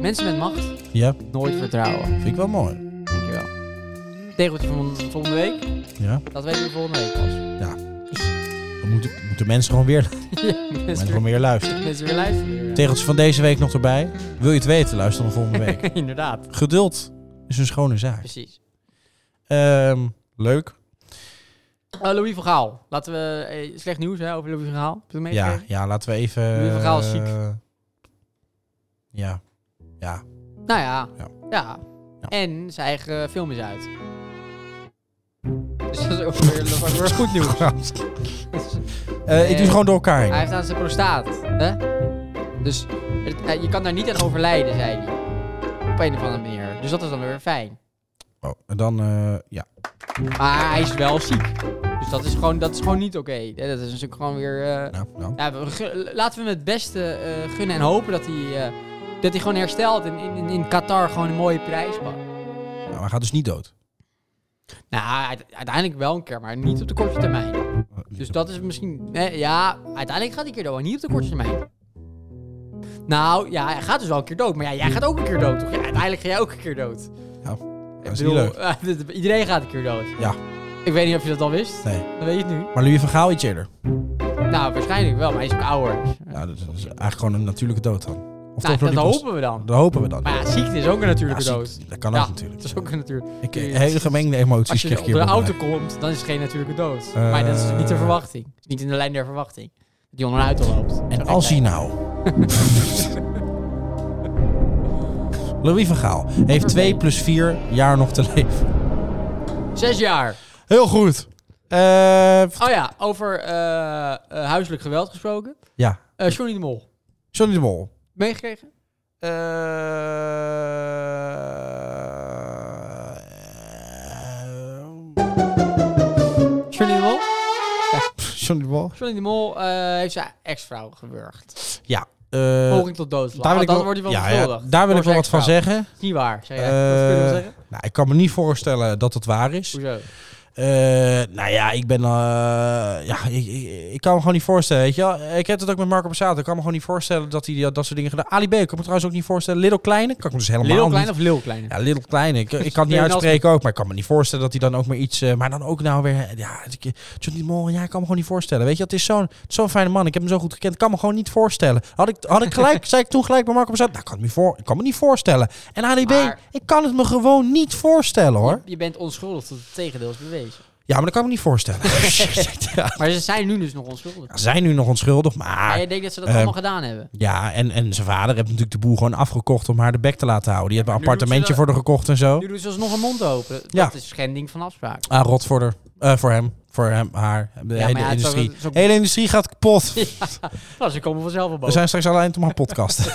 Speaker 1: mensen met macht,
Speaker 2: Ja,
Speaker 1: nooit vertrouwen.
Speaker 2: vind ik wel mooi.
Speaker 1: Dankjewel. Tegeltje van volgende week.
Speaker 2: Ja.
Speaker 1: Dat weten we volgende week pas.
Speaker 2: We moeten, moeten mensen gewoon weer, mensen
Speaker 1: mensen,
Speaker 2: gewoon weer luisteren.
Speaker 1: mensen weer luisteren.
Speaker 2: Tegeltje van deze week nog erbij. Wil je het weten, luister dan volgende week.
Speaker 1: Inderdaad.
Speaker 2: Geduld is een schone zaak.
Speaker 1: Precies.
Speaker 2: Ehm, leuk.
Speaker 1: Eh, Louis van Gaal. Laten we... eh, slecht nieuws hè, over Louis van Gaal. Heb je dat
Speaker 2: Ja,
Speaker 1: meegekregen?
Speaker 2: ja, laten we even...
Speaker 1: Louis van Gaal is ziek.
Speaker 2: eh, Ja. Ja.
Speaker 1: Nou ja. Ja.
Speaker 2: Ja. Ja.
Speaker 1: En zijn eigen film is uit. Dus dat is ook weer, dat is ook weer goed nieuws.
Speaker 2: Eh, ik doe het gewoon door elkaar heen.
Speaker 1: Hij heeft aan zijn prostaat. Hè? Dus het- eh, je kan daar niet aan overlijden, zei hij. Op een of andere manier. Dus dat is dan weer fijn.
Speaker 2: Oh, en dan... eh, ja.
Speaker 1: Maar hij is wel ziek. Dus dat is gewoon, dat is gewoon niet oké. Eh, Dat is natuurlijk gewoon weer... eh,
Speaker 2: Nou, nou.
Speaker 1: ja, we gu- laten we hem het beste eh, gunnen en hopen dat hij, eh, dat hij gewoon herstelt. En in, in, in Qatar gewoon een mooie prijs pakt.
Speaker 2: Nou, hij gaat dus niet dood.
Speaker 1: Nou, uite- uiteindelijk wel een keer, maar niet op de korte termijn. Dus dat is misschien... Nee, ja, uiteindelijk gaat die keer dood, maar niet op de korte termijn. Nou, ja, hij gaat dus wel een keer dood. Maar ja, jij gaat ook een keer dood, toch? Ja, uiteindelijk ga jij ook een keer dood.
Speaker 2: Dat is
Speaker 1: Ik
Speaker 2: niet
Speaker 1: bedoel, eh, dus
Speaker 2: leuk.
Speaker 1: Iedereen gaat een keer dood.
Speaker 2: Ja.
Speaker 1: Ik weet niet of je dat al wist.
Speaker 2: Nee.
Speaker 1: Dan weet je het nu.
Speaker 2: Maar Louis van Gaal iets eerder.
Speaker 1: Nou, waarschijnlijk wel, maar hij is ook ouder.
Speaker 2: Ja, dat is eigenlijk gewoon een natuurlijke dood dan. Of
Speaker 1: Nou,
Speaker 2: toch door
Speaker 1: dat
Speaker 2: die post-
Speaker 1: hopen we dan.
Speaker 2: Dat hopen we dan.
Speaker 1: Maar ja, ziekte is ook een natuurlijke
Speaker 2: Ja,
Speaker 1: dood.
Speaker 2: ziekte, Dat kan ook
Speaker 1: Ja,
Speaker 2: natuurlijk.
Speaker 1: Dat is ook een natuur.
Speaker 2: Ik, hele gemengde emoties
Speaker 1: Als je
Speaker 2: krijg
Speaker 1: op
Speaker 2: ik
Speaker 1: de
Speaker 2: hierbij.
Speaker 1: auto komt, dan is het geen natuurlijke dood.
Speaker 2: Eh.
Speaker 1: maar dat is niet de verwachting. Niet in de lijn der verwachting. Dat die onder een auto loopt. Zo
Speaker 2: En
Speaker 1: gek
Speaker 2: als hij
Speaker 1: zijn.
Speaker 2: nou... Louis van Gaal heeft 2 plus 4 jaar nog te leven.
Speaker 1: Zes jaar.
Speaker 2: Heel goed. Eh,
Speaker 1: Oh ja, over eh, eh, huiselijk geweld gesproken.
Speaker 2: ja,
Speaker 1: Eh Johnny de Mol.
Speaker 2: Johnny de Mol.
Speaker 1: Meegekregen?
Speaker 2: Eh, Eh,
Speaker 1: Johnny de Mol?
Speaker 2: Johnny de Mol?
Speaker 1: Johnny de Mol eh, heeft zijn ex-vrouw gewurgd.
Speaker 2: Ja. Eh,
Speaker 1: Poging tot doodslag.
Speaker 2: daar
Speaker 1: Oh,
Speaker 2: wil ik
Speaker 1: dan
Speaker 2: wel-
Speaker 1: wordt hij wel
Speaker 2: ja,
Speaker 1: beschuldigd.
Speaker 2: ja, daar wil
Speaker 1: Door
Speaker 2: ik
Speaker 1: zijn
Speaker 2: wel wat van
Speaker 1: ex-vrouw.
Speaker 2: zeggen.
Speaker 1: Is niet waar, zei jij.
Speaker 2: Eh,
Speaker 1: Wat kun je dan zeggen?
Speaker 2: Nou, ik kan me niet voorstellen dat het waar is.
Speaker 1: Hoezo?
Speaker 2: Eh, nou ja, ik ben... eh, ja, ik, ik, ik kan me gewoon niet voorstellen, weet je wel. Ik heb het ook met Marco Passato. Ik kan me gewoon niet voorstellen dat hij eh, dat, dat soort dingen gedaan. Ali B, ik kan me trouwens ook niet voorstellen. Little Kleine, kan ik me dus helemaal
Speaker 1: Lil
Speaker 2: niet...
Speaker 1: klein of Lil klein?
Speaker 2: Ja, Little Kleine. Ik, ik kan het niet
Speaker 1: Nee, dat-
Speaker 2: uitspreken ook, maar ik kan me niet voorstellen dat hij dan ook maar iets... eh, maar dan ook nou weer... Ja, ik- Johnny Mol, ja, ik kan me gewoon niet voorstellen. Weet je, het is zo'n zo'n fijne man. Ik heb hem zo goed gekend. Ik kan me gewoon niet voorstellen. Had ik, had ik gelijk, zei ik toen gelijk bij Marco Bazzato, nou, ik kan, het me voor, ik kan me niet voorstellen. En ADB,
Speaker 1: Maar-
Speaker 2: ik kan het me gewoon niet voorstellen, hoor.
Speaker 1: Je bent onschuldig tot het tegendeel is bewezen.
Speaker 2: Ja, maar dat kan ik me niet voorstellen. ja,
Speaker 1: Maar ze zijn nu dus nog onschuldig.
Speaker 2: ze zijn nu nog onschuldig,
Speaker 1: Maar
Speaker 2: maar...
Speaker 1: je denkt dat ze dat
Speaker 2: eh,
Speaker 1: allemaal gedaan hebben.
Speaker 2: Ja, en, en zijn vader heeft natuurlijk de boel gewoon afgekocht om haar de bek te laten houden. Die hebben een
Speaker 1: nu doet ze
Speaker 2: appartementje
Speaker 1: dat-
Speaker 2: voor haar gekocht en zo.
Speaker 1: Nu doen ze alsnog een mond open. Dat
Speaker 2: Oh. Ja.
Speaker 1: is schending van afspraak.
Speaker 2: Ah, rot voor, de, eh, voor hem. Voor hem, haar. De
Speaker 1: maar
Speaker 2: hele
Speaker 1: ja, het is ook-
Speaker 2: industrie.
Speaker 1: het is ook-
Speaker 2: hele industrie gaat kapot.
Speaker 1: Nou, ze komen vanzelf op
Speaker 2: We
Speaker 1: boven.
Speaker 2: zijn straks alleen om haar podcast.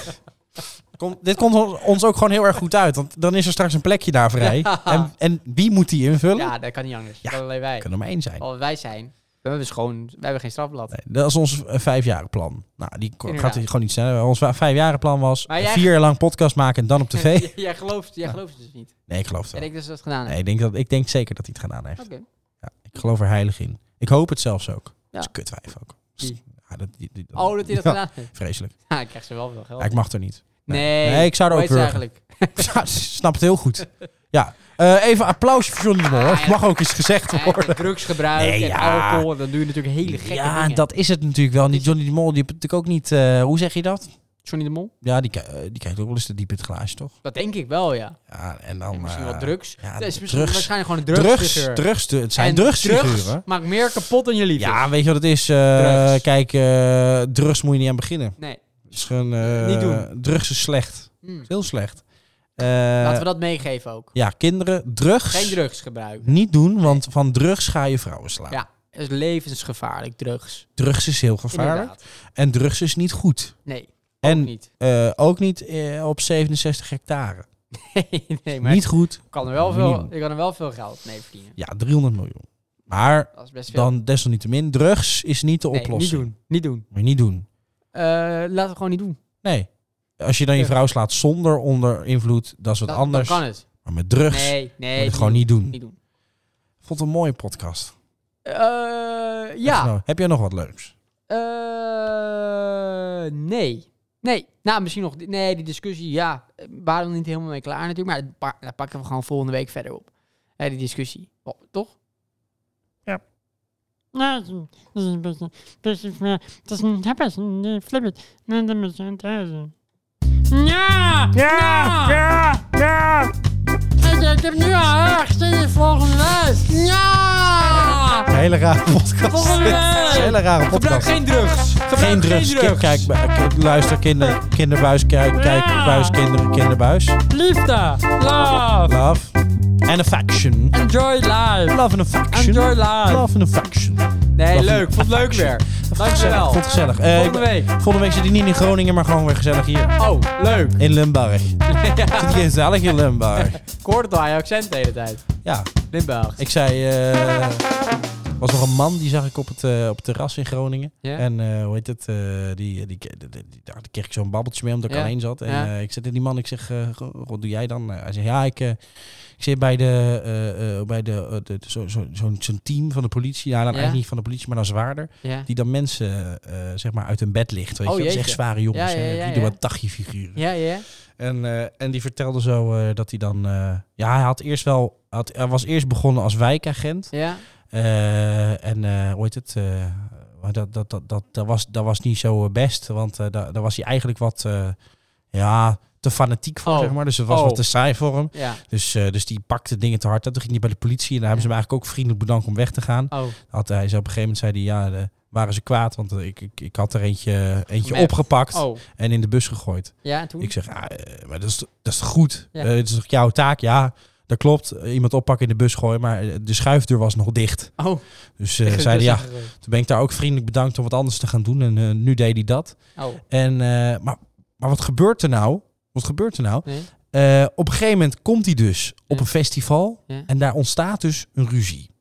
Speaker 2: Kom, dit komt ons- ons ook gewoon heel erg goed uit. Want dan is er straks een plekje daar vrij. En, en wie moet die invullen?
Speaker 1: Ja, Oh. dat kan niet anders.
Speaker 2: Ja.
Speaker 1: Dat kan alleen wij.
Speaker 2: Dat kan er maar één zijn.
Speaker 1: Al wij zijn. We hebben, schoon, we hebben geen strafblad.
Speaker 2: Nee, dat is ons eh, vijfjarenplan. Nou, die ko-
Speaker 1: Inderdaad.
Speaker 2: gaat hier gewoon niet sneller. Ons wa- vijfjarenplan was
Speaker 1: Maar jij-
Speaker 2: vier jaar lang podcast maken en dan op tv.
Speaker 1: Jij- jij gelooft, jij gelooft het dus niet.
Speaker 2: Nee, ik geloof het
Speaker 1: Jij
Speaker 2: wel.
Speaker 1: denkt dat ze dat gedaan
Speaker 2: Nee,
Speaker 1: hebben.
Speaker 2: ik, denk dat, ik denk zeker dat hij het gedaan heeft.
Speaker 1: Oké.
Speaker 2: Ja, ik geloof er heilig in. Ik hoop het zelfs ook.
Speaker 1: Ja.
Speaker 2: Dat is een kutwijf ook.
Speaker 1: Wie?
Speaker 2: Ja, dat, die- die-
Speaker 1: Oh, dat hij dat
Speaker 2: Ja,
Speaker 1: gedaan heeft.
Speaker 2: Vreselijk.
Speaker 1: Ja, ik krijg ze wel veel geld.
Speaker 2: Ja, ik mag er niet.
Speaker 1: nee.
Speaker 2: Nee, ik zou er
Speaker 1: Hoe
Speaker 2: ook
Speaker 1: heet ze
Speaker 2: wurgen.
Speaker 1: eigenlijk.
Speaker 2: Ja, ze snapt het heel goed. Ja. Eh, even applaus voor Johnny de Mol. hoor.
Speaker 1: Ah, ja.
Speaker 2: Mag ook eens gezegd
Speaker 1: Hij heeft
Speaker 2: worden.
Speaker 1: drugsgebruik
Speaker 2: Nee,
Speaker 1: en
Speaker 2: ja.
Speaker 1: alcohol. En dan doe je natuurlijk hele gekke
Speaker 2: Ja,
Speaker 1: dingen.
Speaker 2: dat is het natuurlijk wel. Die Johnny de Mol, die heeft natuurlijk ook niet... eh, hoe zeg je dat?
Speaker 1: Johnny de Mol?
Speaker 2: Ja, die, ki- eh, die kijkt ook wel eens te diep in het glaasje, toch?
Speaker 1: Dat denk ik wel, ja.
Speaker 2: Ja, en dan...
Speaker 1: En misschien
Speaker 2: eh,
Speaker 1: wel drugs.
Speaker 2: ja,
Speaker 1: dat is misschien
Speaker 2: drugs.
Speaker 1: waarschijnlijk gewoon een
Speaker 2: Drugs.
Speaker 1: drugsfiguur.
Speaker 2: drugs, het zijn
Speaker 1: En
Speaker 2: drugsfiguren.
Speaker 1: maakt meer kapot dan je liefde.
Speaker 2: Ja, weet je wat het is? Eh,
Speaker 1: Drugs.
Speaker 2: Kijk, eh, drugs moet je niet aan beginnen.
Speaker 1: Nee.
Speaker 2: Het is gewoon, eh,
Speaker 1: Niet doen.
Speaker 2: Drugs is slecht.
Speaker 1: Hm.
Speaker 2: Is Heel slecht. Eh,
Speaker 1: Laten we dat meegeven ook.
Speaker 2: Ja, kinderen, drugs,
Speaker 1: Geen drugsgebruik.
Speaker 2: niet doen, want van drugs ga je vrouwen slaan.
Speaker 1: Ja, dat is levensgevaarlijk, drugs.
Speaker 2: Drugs is heel gevaarlijk
Speaker 1: Inderdaad.
Speaker 2: en drugs is niet goed.
Speaker 1: Nee, en...
Speaker 2: en
Speaker 1: niet.
Speaker 2: eh, ook niet eh, op 67 hectare.
Speaker 1: nee, maar
Speaker 2: Niet goed,
Speaker 1: ik kan er wel veel,
Speaker 2: Niet.
Speaker 1: ik kan er wel veel geld mee verdienen.
Speaker 2: ja, 300 miljoen. Maar
Speaker 1: Dat is best veel.
Speaker 2: dan desalniettemin, drugs is niet de
Speaker 1: Nee,
Speaker 2: oplossing.
Speaker 1: niet doen. Niet doen.
Speaker 2: Moet je niet doen.
Speaker 1: Eh, laten we gewoon niet doen.
Speaker 2: Nee. Als je dan je
Speaker 1: Ja.
Speaker 2: vrouw slaat zonder onder invloed, dat is wat
Speaker 1: Dan-
Speaker 2: anders.
Speaker 1: Dan kan het.
Speaker 2: Maar met drugs moet
Speaker 1: Nee, nee.
Speaker 2: je het gewoon niet doen.
Speaker 1: Niet doen.
Speaker 2: Vond het een mooie podcast.
Speaker 1: Eh,
Speaker 2: Echt
Speaker 1: ja.
Speaker 2: nou. Heb jij nog wat leuks?
Speaker 1: Eh, nee. Nee. Nou, misschien nog. Nee, die discussie. Ja, eh, we waren er niet helemaal mee klaar natuurlijk. Maar pa- daar pakken we gewoon volgende week verder op. Hè, die discussie. Oh, toch?
Speaker 10: Ja.
Speaker 3: Nou, dat is een beetje, beetje van, het is een happers, die flippert, en dan moet je het huizen. Ja! Also,
Speaker 10: Ja, ja, ja.
Speaker 3: Ik, ik heb nu al erg zin in volgende week. Ja!
Speaker 2: Hele rare podcast.
Speaker 3: Volgende week!
Speaker 2: Hele rare
Speaker 11: Gebruik
Speaker 2: podcast.
Speaker 11: geen drugs. Gebruik
Speaker 2: Geen drugs. Kijk, kijk, kijk, luister, kinder, kinderbuis, kijk, kijk,
Speaker 3: Ja.
Speaker 2: buis, kinderen, kinderbuis.
Speaker 3: Liefde, love,
Speaker 2: Love and affection.
Speaker 3: enjoy life,
Speaker 2: Love and affection.
Speaker 3: Enjoy life.
Speaker 2: Love and affection.
Speaker 1: Nee,
Speaker 2: Dat-
Speaker 1: leuk. Vond het leuk weer.
Speaker 2: Gezellig,
Speaker 1: Dankjewel.
Speaker 2: vond het gezellig. Eh,
Speaker 1: Volgende
Speaker 2: ik-
Speaker 1: week.
Speaker 2: Volgende week zit hij niet in Groningen, maar gewoon weer gezellig hier
Speaker 1: Oh, leuk.
Speaker 2: in Limburg. Zit hij gezellig in Limburg.
Speaker 1: Ik hoorde het al aan je accent de hele tijd.
Speaker 2: Ja,
Speaker 1: Limburg.
Speaker 2: ik zei... eh er was nog een man, die zag ik op het, eh, op het terras in Groningen.
Speaker 1: Ja?
Speaker 2: En eh, hoe heet het? eh, die, die, die- die- die- daar kreeg ik zo'n babbeltje mee omdat ik
Speaker 1: Ja.
Speaker 2: alleen zat. En
Speaker 1: Ja.
Speaker 2: eh, ik zit in die man, ik zeg, eh, "Goh, wat doe jij dan? Eh, hij zegt, ja, ik, eh, ik Ik zit bij de, eh, eh, bij de, eh, de, de- zo, zo, zo'n, zo'n team van de politie. Ja, dan eigenlijk niet van de politie, maar dan zwaarder.
Speaker 3: Ja.
Speaker 2: Die dan mensen eh, zeg maar uit hun bed ligt. Weet
Speaker 3: Oh,
Speaker 2: je? Dat is echt
Speaker 3: jeetje.
Speaker 2: zware jongens.
Speaker 3: Ja,
Speaker 2: hè.
Speaker 3: ja, ja,
Speaker 2: die doen
Speaker 3: ja.
Speaker 2: wat dagje figuren.
Speaker 3: Ja, ja.
Speaker 2: En, eh, en die vertelde zo eh, dat hij dan. eh, ja, hij had eerst wel. Had, hij was eerst begonnen als wijkagent.
Speaker 3: Ja.
Speaker 2: Eh, en eh hoe heet het? eh, maar dat, dat, dat, dat, dat, was, dat was niet zo eh, best. Want eh daar, daar was hij eigenlijk wat eh, ja, te fanatiek voor,
Speaker 3: Oh.
Speaker 2: zeg maar. Dus het was
Speaker 3: Oh.
Speaker 2: wat te saai voor hem.
Speaker 3: Ja.
Speaker 2: Dus, eh, dus die pakte dingen te hard. aan. Toen ging hij bij de politie. En daar hebben ze hem eigenlijk ook vriendelijk bedankt om weg te gaan.
Speaker 3: Oh.
Speaker 2: Had hij zo op een gegeven moment zei hij, ja, eh, waren ze kwaad. Want eh, ik, ik, ik had er eentje, eh, eentje
Speaker 3: Gemerkt.
Speaker 2: opgepakt
Speaker 3: Oh.
Speaker 2: en in de bus gegooid.
Speaker 3: Ja, en toen?
Speaker 2: Ik zeg, ja, eh, maar dat is, dat is toch goed?
Speaker 3: Ja.
Speaker 2: Eh, het is toch jouw taak? Ja, dat klopt. Eh, Iemand oppakken in de bus gooien, maar eh, de schuifdeur was nog dicht.
Speaker 3: Oh.
Speaker 2: Dus eh zeiden ja, toen ben ik daar ook vriendelijk bedankt om wat anders te gaan doen. En eh, nu deed hij dat.
Speaker 3: Oh.
Speaker 2: En, eh, maar, maar wat gebeurt er nou? Wat gebeurt er nou?
Speaker 3: Nee.
Speaker 2: Eh, op een gegeven moment komt hij dus op
Speaker 3: Ja.
Speaker 2: een festival
Speaker 3: Ja.
Speaker 2: en daar ontstaat dus een ruzie.